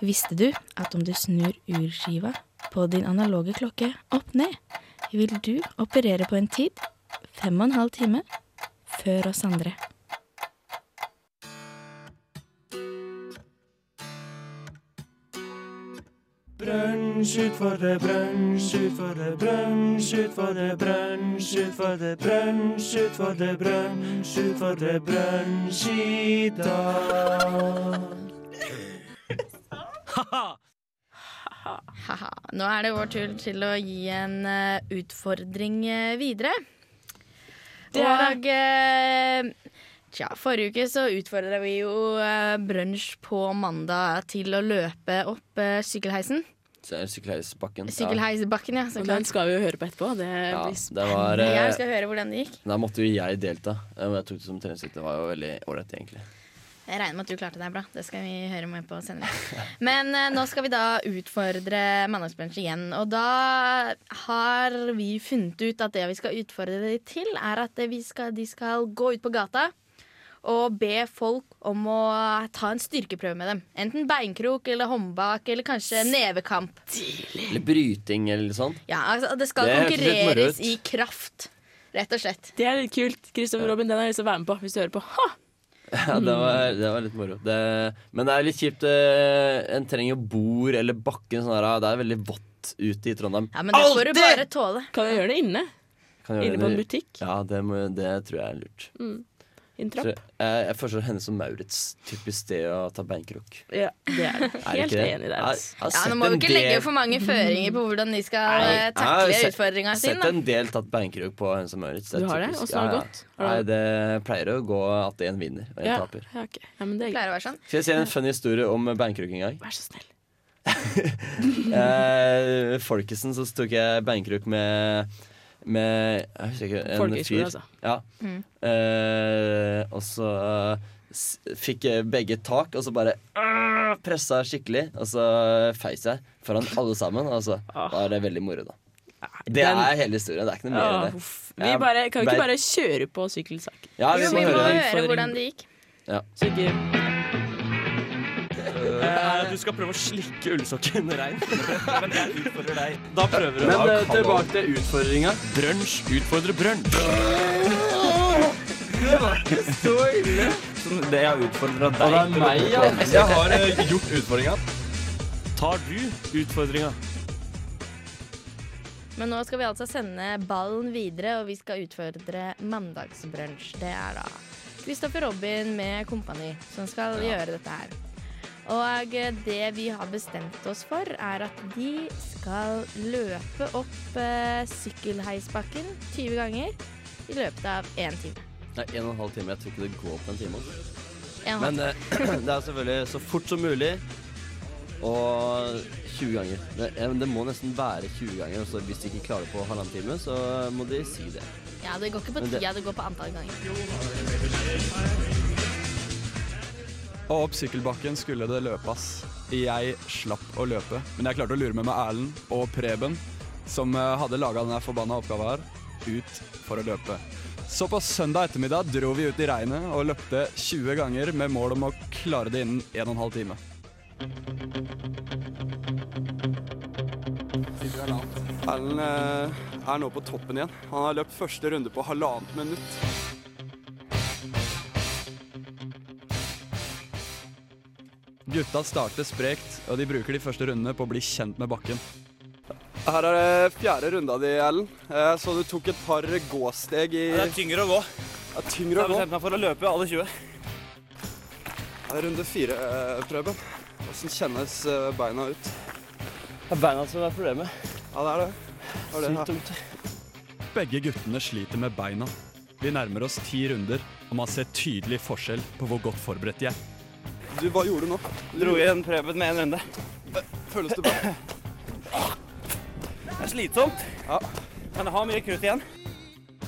S10: Visste du at om du snur urskiva på din analoge klokke opp ned, vil du operere på en tid fem og en halv time før oss andre?
S3: Haha. Nå er det vår tur til å gi en eh, utfordring eh, videre.
S5: Det er
S3: Og eh, tja, forrige uke så utfordra vi jo eh, brunsj på mandag til å løpe opp eh, sykkelheisen.
S6: Så er det Sykkelheisbakken. Ja.
S3: Sykkelheisbakken, ja. Så
S5: Og den
S3: klart.
S5: skal vi jo høre på etterpå. Det
S6: Ja,
S5: blir
S6: det var eh,
S3: Jeg skal høre hvordan det gikk.
S6: Da måtte jo jeg delta. eh, Og jeg tok det som treningsøkt. Det var jo veldig ålreit, egentlig.
S3: Jeg regner med at du klarte deg bra. Det skal vi høre med på senere. Men eh, nå skal vi da utfordre Mandagsbrunsj igjen. Og da har vi funnet ut at det vi skal utfordre de til, er at vi skal, de skal gå ut på gata og be folk om å ta en styrkeprøve med dem. Enten beinkrok eller håndbak eller kanskje nevekamp.
S6: Eller bryting eller litt sånn.
S3: Ja, altså, det skal
S6: Det høres litt moro
S3: konkurreres
S6: ut.
S3: i kraft, rett og slett.
S5: Det er litt kult. Kristoffer Robin, den har jeg lyst til å være med på hvis du hører på. Ha!
S6: Ja, det
S5: Mm.
S6: var, det var litt moro. Det, men det er litt kjipt. eh, En trenger jo bord eller bakken. Sånn her, det er veldig vått ute i Trondheim.
S3: Ja, Men det får du bare tåle.
S5: Kan jeg gjøre det inne?
S6: Kan gjøre
S5: Inne på en
S6: det-
S5: butikk? Mm.
S6: Ja, det, må, det tror jeg er lurt.
S5: I en
S6: Tror
S5: trapp?
S6: jeg, jeg, jeg foreslår henne som Maurits. Typisk sted å ta beinkrok.
S5: Ja, det er det.
S6: Er det
S5: Helt
S6: ikke det?
S5: enig der.
S6: Jeg-
S5: Altså.
S6: jeg har
S3: Ja,
S6: sett
S3: Nå må
S6: en
S3: vi ikke legge
S6: del-
S3: for mange føringer på hvordan de skal eh,
S6: Nei, jeg
S3: takle
S6: har sett-
S3: utfordringa si.
S6: Sett en del tatt beinkrok på Høns og Maurits. er
S5: Du har det?
S6: typisk.
S5: Åssen har det gått? Har
S6: Nei,
S5: det-
S6: det pleier å gå at én vinner og én
S5: Ja,
S6: taper.
S5: ja, ok. ja, men det er greit.
S3: pleier å være sånn.
S6: Skal jeg si en funny historie om beinkrok en gang?
S5: Vær så snill.
S6: Eh, Folkesen så tok jeg beinkrok med med Jeg husker ikke. En
S5: Folkehøyskole,
S6: fyr.
S5: altså.
S6: Ja. Eh, og så eh, s- fikk jeg begge tak, og så bare uh, pressa skikkelig. Og så feis jeg foran alle sammen, og så var det veldig moro, da. Det
S5: den-
S6: er hele historien. Det er ikke noe mer
S5: Åh,
S6: enn det.
S5: uff. vi bare, kan vi
S6: Vær-
S5: ikke bare kjøre på sykkelsak?
S3: Jo,
S6: Ja, vi
S3: vi
S6: må
S3: må
S6: høre den.
S3: høre hvordan det gikk.
S5: Så ikke
S12: Du skal prøve å slikke ullsokken rein. Men jeg utfordrer deg. Da prøver du.
S6: Men eh, tilbake til utfordringa.
S12: Brunsj utfordrer brunsj.
S6: Så ille.
S12: Det jeg utfordra
S6: Og det er meg, ja.
S12: Jeg har eh, gjort utfordringa. Tar du utfordringa?
S3: Men nå skal vi altså sende ballen videre, og vi skal utfordre mandagsbrunsj. Det er da Kristoffer Robin med kompani, som skal gjøre dette her. Og eh, det vi har bestemt oss for, er at de skal løpe opp eh, sykkelheisbakken 20 ganger i løpet av én time.
S6: Nei, en og en halv time. Jeg tror ikke det går på en time. altså.
S3: En og en
S6: Men eh, det er selvfølgelig så fort som mulig. Og 20 ganger. Det, eh, men det må nesten være 20 ganger. Så hvis de ikke klarer det på halvannen time, så må de si det.
S3: Ja, det går ikke på
S6: Men det-
S3: tida, det går på antall ganger.
S9: Og opp sykkelbakken skulle det løpes. Jeg slapp å løpe, men jeg klarte å lure med meg Erlend og Preben, som eh, hadde laga denne forbanna oppgava her, ut for å løpe. Så på søndag ettermiddag dro vi ut i regnet og løpte 20 ganger med mål om å klare det innen 1 12 time. Erlend eh, er nå på toppen igjen. Han har løpt første runde på halvannet minutt. Gutta starter sprekt, og de bruker de første rundene på å bli kjent med bakken. Her er det fjerde runda di, Erlend. Eh, Så du tok et par gåsteg i
S12: Det er tyngre å gå.
S9: Det er tyngre å
S12: Jeg har
S9: gå.
S12: bestemt meg for å løpe alle 20.
S9: Det er runde fire, eh, Preben. Hvordan kjennes eh, beina ut?
S6: Det er beina som er problemet.
S9: Ja, det er det. det er det.
S6: Sykt tungt.
S13: Begge guttene sliter med beina. Vi nærmer oss ti runder, og man ser tydelig forskjell på hvor godt forberedt de er.
S9: Du, hva gjorde du nå? Du
S12: Dro
S9: gjorde-
S12: igjen Preben med en runde.
S6: Eh,
S9: Føles det bra?
S12: Det er slitsomt, men jeg har mye krutt igjen.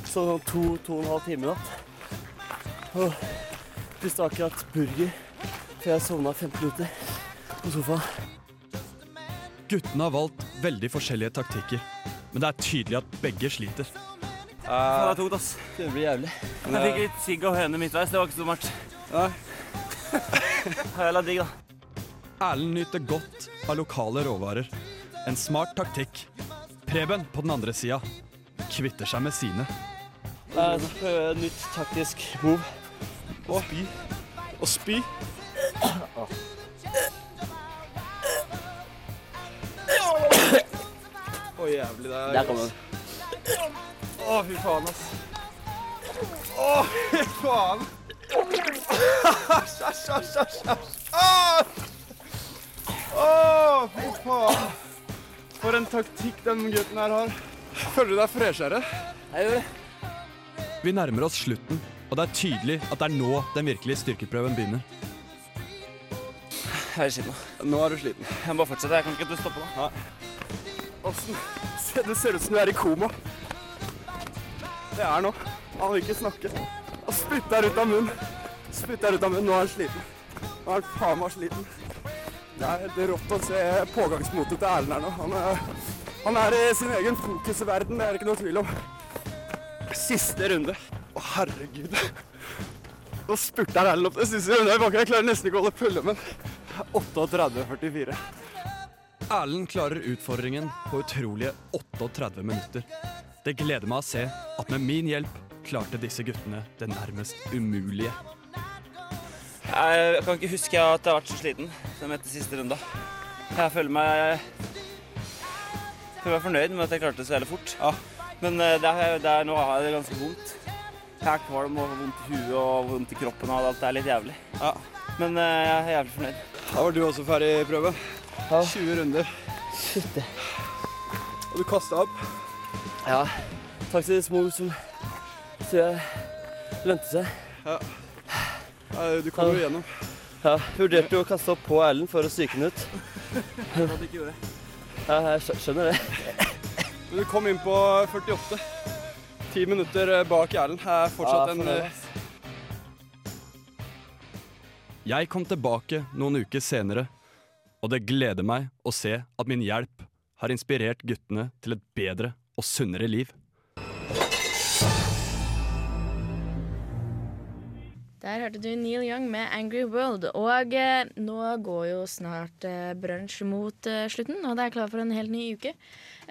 S6: Så sånn to, to og en halv time i natt. Og spiste akkurat burger før jeg sovna 15 minutter på sofaen.
S13: Guttene har valgt veldig forskjellige taktikker, men det er tydelig at begge sliter.
S12: Faen, det er tungt, ass.
S6: Det blir jævlig.
S12: Jeg fikk litt sigg og høne midtveis. Det var ikke så dummert. Jævla digg, da.
S13: Erlend nyter godt av lokale råvarer. En smart taktikk. Preben på den andre sida kvitter seg med sine.
S6: Det er et øh, nytt taktisk move. Å spy.
S13: Å spy?
S9: Å, jævlig. Det er
S6: Der kom den.
S9: Å, fy faen, ass. Å, fy faen. Æsj, æsj, æsj, æsj, æsj. Ah! Å, fy faen. For en taktikk den gutten her har. Føler du deg freshere? Jeg gjør det.
S13: Vi nærmer oss slutten, og det er tydelig at det er nå den virkelige styrkeprøven begynner.
S12: Jeg er sliten.
S9: Nå er du sliten.
S12: Jeg må bare fortsette. Jeg kan ikke stoppe nå.
S9: Åssen Se, Det ser ut som du er i koma. Det er nå. Han vil ikke snakke. Han spytter ut av munnen. Spytter ut av munnen. Nå er han sliten. Nå er han faen meg sliten. Det er helt rått å se pågangsmotet til Erlend her nå. Han er, han er i sin egen fokusverden, det er det ikke noe tvil om. Siste runde. Å, herregud. Nå spurter Erlend opp den siste runden. Jeg bare- Jeg klarer nesten ikke å holde følge med. 38,44.
S13: Erlend klarer utfordringen på utrolige 38 minutter. Det gleder meg å se at med min hjelp klarte disse guttene det nærmest umulige.
S12: Eh, Jeg kan ikke huske at jeg har vært så sliten som etter siste runde. Jeg føler meg jeg føler meg fornøyd med at jeg klarte det så jævlig fort. Men eh, det er, det er, nå har jeg det ganske vondt. Jeg er kvalm og har vondt i huet og vondt i kroppen. og Alt er litt jævlig. Men eh, jeg er jævlig fornøyd.
S9: Da var du også ferdig, Prøve. 20 runder. Og du kasta opp.
S6: Ja. Taktisk move som tror jeg lønte seg.
S9: Ja. Nei, Du kom jo igjennom.
S6: Ja, Vurderte jo å kaste opp på Erlend for å psyke han ut.
S9: At du ikke gjorde det.
S6: Ja, jeg skjø- skjønner det.
S9: Men du kom inn på 48. Ti minutter eh, bak Erlend. Er
S6: Ja,
S9: fortsatt en
S6: fornøyd,
S9: eh,
S6: ass.
S13: Jeg kom tilbake noen uker senere, og det gleder meg å se at min hjelp har inspirert guttene til et bedre og sunnere liv.
S3: Der hørte du Neil Young med 'Angry World'. Og eh, nå går jo snart eh, brunsj mot eh, slutten, og det er klar for en helt ny uke.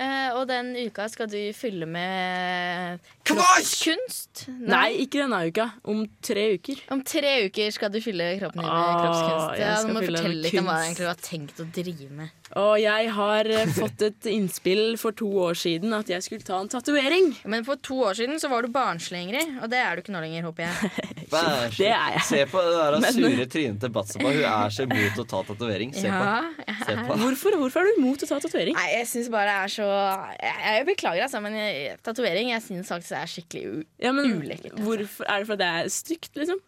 S3: Eh, og den uka skal du fylle med kroppskunst.
S5: Nei, ikke denne uka. Om tre uker.
S3: Om tre uker skal du fylle kroppen din med
S5: Ah,
S3: kroppskunst.
S5: jeg
S3: Ja,
S5: skal
S3: du må
S5: fylle den
S3: fortelle
S5: med
S3: litt om hva du
S5: kunst.
S3: egentlig har tenkt å drive med.
S5: Og jeg har eh, fått et innspill for to år siden at jeg skulle ta en tatovering.
S3: Men for to år siden så var du barnslig, Ingrid, og det er du ikke nå lenger, håper jeg.
S6: Vær så-
S5: Det er jeg.
S6: Se på det der
S5: Men-
S6: sure trynet til Batseba. Hun er så imot å ta tatovering. Se på.
S3: Ja,
S6: Se på.
S5: Hvorfor, hvorfor er du imot å ta tatovering?
S3: Nei, jeg syns bare det er så Jeg, jeg beklager, altså, men jeg- tatovering jeg syns faktisk er skikkelig u
S5: Ja, men
S3: ulekkert.
S5: hvorfor Er det fordi det er stygt, liksom?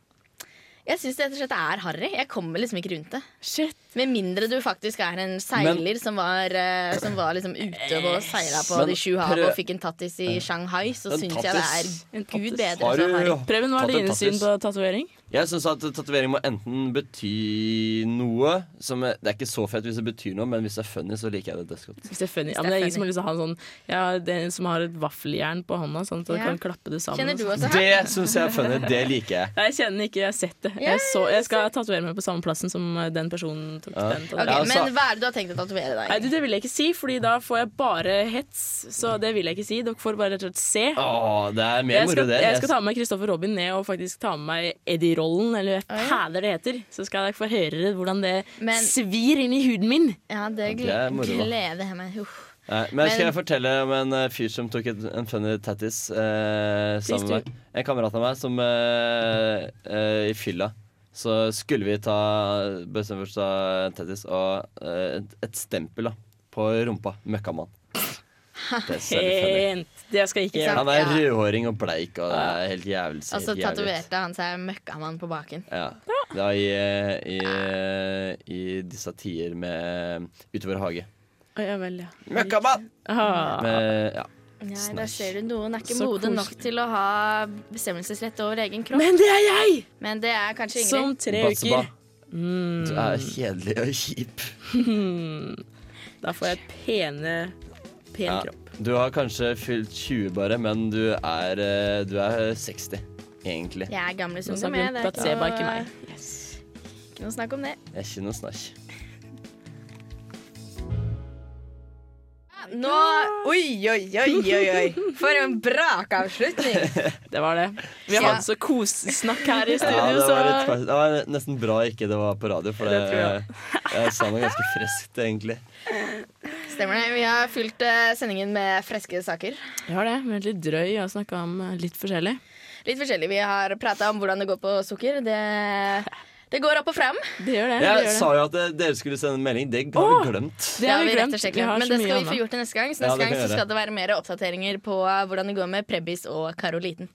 S3: Jeg syns det rett og slett er harry. Jeg kommer liksom ikke rundt det.
S5: Shit.
S3: Med mindre du faktisk er en seiler som, var, eh, som var liksom ute og seila på
S6: Men
S3: de sju hav
S6: prøv-
S3: og fikk en tattis i Shanghai, så
S6: En
S3: syns jeg det er
S6: tattis.
S3: gud bedre
S5: altså
S3: så
S6: Har du-
S3: harry.
S5: Preben, hva
S6: Tatt
S5: er
S6: en
S5: dine syn
S6: tattis.
S5: på tatovering?
S6: Jeg syns at tatovering må enten bety noe som er, Det er ikke så fett hvis det betyr noe, men hvis det er funny, så liker jeg det dødsgodt.
S5: Hvis det er funny. Ja, men det er ingen som har lyst til å ha en sånn ja, det er en som har et vaffeljern på hånda, sånn at du
S3: Ja.
S5: kan klappe det sammen.
S3: Kjenner du
S5: og sånn.
S3: også her?
S6: Det syns jeg er funny. Det liker jeg.
S5: Nei, jeg kjenner ikke, jeg har sett det.
S3: Ja,
S5: Jeg, så, jeg skal tatovere meg på samme plassen som eh, den personen tok
S6: Ja.
S5: den.
S3: Ok,
S5: tatoveringen.
S6: altså-
S3: men hva er det du har tenkt å tatovere deg?
S5: Nei, du, det vil jeg ikke si, Fordi da får jeg bare hets. Så det vil jeg ikke si. Dere får bare rett og slett se.
S6: Åh, det er mer
S5: Jeg
S6: moro,
S5: skal,
S6: det.
S5: jeg skal ta med meg Kristoffer Robin ned og faktisk ta med meg Eddie-rollen, eller hva fader det heter. Så skal dere få høre hvordan det
S3: Men-
S5: svir inn i huden min.
S3: Ja, det
S6: det er moro, da.
S3: gleder jeg meg. Uff.
S6: Nei, men skal
S3: Men-
S6: jeg fortelle om en eh, fyr som tok et, en funny tattis eh, sammen med meg? En kamerat av meg som eh, eh, i fylla så skulle vi ta bestemte oss for å ta en tattis og eh, et, et stempel da, på rumpa. Møkkamann. Det er så veldig funny.
S5: Pent. Det skal jeg ikke gjøre.
S6: Han er rødhåring og bleik, og det er helt jævlig. ser
S3: Altså
S6: helt jævlig ut.
S3: tatoverte han seg møkkamann på baken.
S6: Ja. Det var i, eh, i, eh, i disse tider med eh, Ute i vår hage.
S5: Å, Ja vel, ja.
S6: Møkkamann!
S5: Ah.
S6: Med, ja.
S3: Nei,
S6: Snæsj.
S3: der ser du noen er ikke
S5: Så
S3: moden nok
S5: koselig.
S3: til å ha bestemmelsesrett over egen kropp.
S5: Men det er jeg!
S3: Men det er kanskje
S5: Som
S3: Ingrid.
S5: tre
S6: Batseba.
S5: uker. Mm.
S6: Du er kjedelig og kjip.
S5: Da får jeg pene pen
S6: Ja.
S5: kropp.
S6: Du har kanskje fylt 20 bare, men du er, eh, du er 60, egentlig.
S3: Jeg er gamle
S5: Nå
S3: Sunde
S5: snakker
S3: med.
S5: vi
S3: Det
S5: om
S3: er
S5: Batseba, ikke meg.
S3: noe, ikke noe snakk om det.
S6: Jeg er ikke noe snakk.
S3: Nå Oi, oi, oi, oi! oi. For en brakavslutning!
S5: Det var det. Vi har hatt så kossnakk her i
S6: Ja,
S5: studio,
S6: det,
S5: så
S6: var litt, fast- det var nesten bra ikke det var på radio, for det,
S5: Det tror
S6: jeg sa noe ganske friskt, egentlig.
S3: Stemmer det. Vi har fylt eh, sendingen med friske saker.
S5: Vi har det. Vi har vært litt drøy og snakka om eh, litt forskjellig.
S3: Litt forskjellig. Vi har prata om hvordan det går på sukker. Det, det går opp og fram.
S5: Det gjør det. det,
S6: Jeg
S5: gjør
S6: sa jo at eh, dere skulle sende en melding. Det har
S5: Åh!
S6: vi glemt.
S5: det. det har vi
S3: rett og
S5: glemt.
S3: slett
S5: Vi har
S3: glemt, Men
S5: så
S3: det skal vi
S5: mye
S3: få
S5: annet.
S3: gjort til neste gang. Så neste
S6: Ja, det
S3: gang
S6: kan vi
S3: så
S6: gjøre.
S3: skal det være mer oppdateringer på eh, hvordan det går med Prebbis og Karoliten.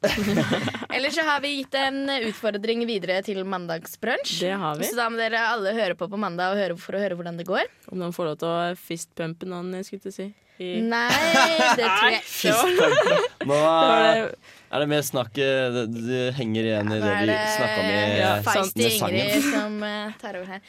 S3: Ellers så har vi gitt en utfordring videre til mandagsbrunsj.
S5: Det har vi.
S3: Så da må dere alle høre på på mandag og høre for å høre hvordan det går.
S5: Om de får lov til å fistpumpe noen, jeg skulle til å si. I,
S3: Nei, det tror jeg
S6: Fy søren. Nå
S5: det var
S6: eh,
S5: det
S6: er det mer snakk eh, Det, det henger igjen
S3: Nå
S6: i det
S3: er
S6: vi
S3: det
S6: snakka om i
S5: Ja,
S6: eh,
S3: feisty
S6: med sangen.
S3: Ingrid som eh, tar over her.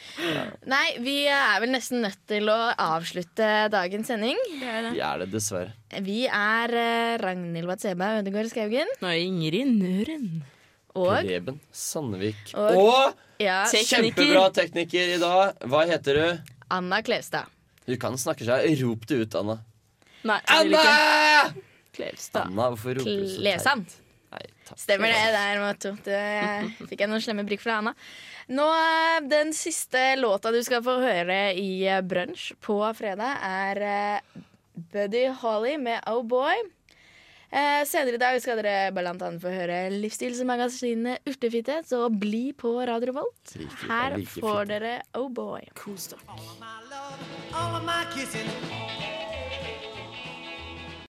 S3: Nei, vi er vel nesten nødt til å avslutte dagens sending.
S6: Vi er det, dessverre.
S3: Vi er eh, Ragnhild Watseba Ødegård Skaugen
S5: Nå er Ingrid Nøren.
S3: og,
S6: Preben Sandvik.
S3: Og-
S6: og
S3: ja,
S5: Tekniker.
S6: Kjempebra tekniker i dag. Hva heter du?
S3: Anna Klevstad.
S6: Du kan snakke seg. Rop det ut, Anna.
S5: Nei, jeg vil
S6: Anna!
S5: ikke. Klevstad.
S6: Anna, hvorfor roper du så teit?
S3: Klevsand.
S6: Nei, takk.
S3: Stemmer det. Der måtte, det fikk jeg noen slemme blikk fra Anna. Nå, eh, Den siste låta du skal få høre i eh, Brunch på fredag, er eh, Buddy Holly med Oh Boy. Eh, senere i dag skal dere blant annet få høre livsstilsmagasinet Urtefitte, så bli på Radio Volt.
S6: Rike-
S3: Her
S6: rike fitte.
S3: får dere Oh Boy.
S12: All of my kissing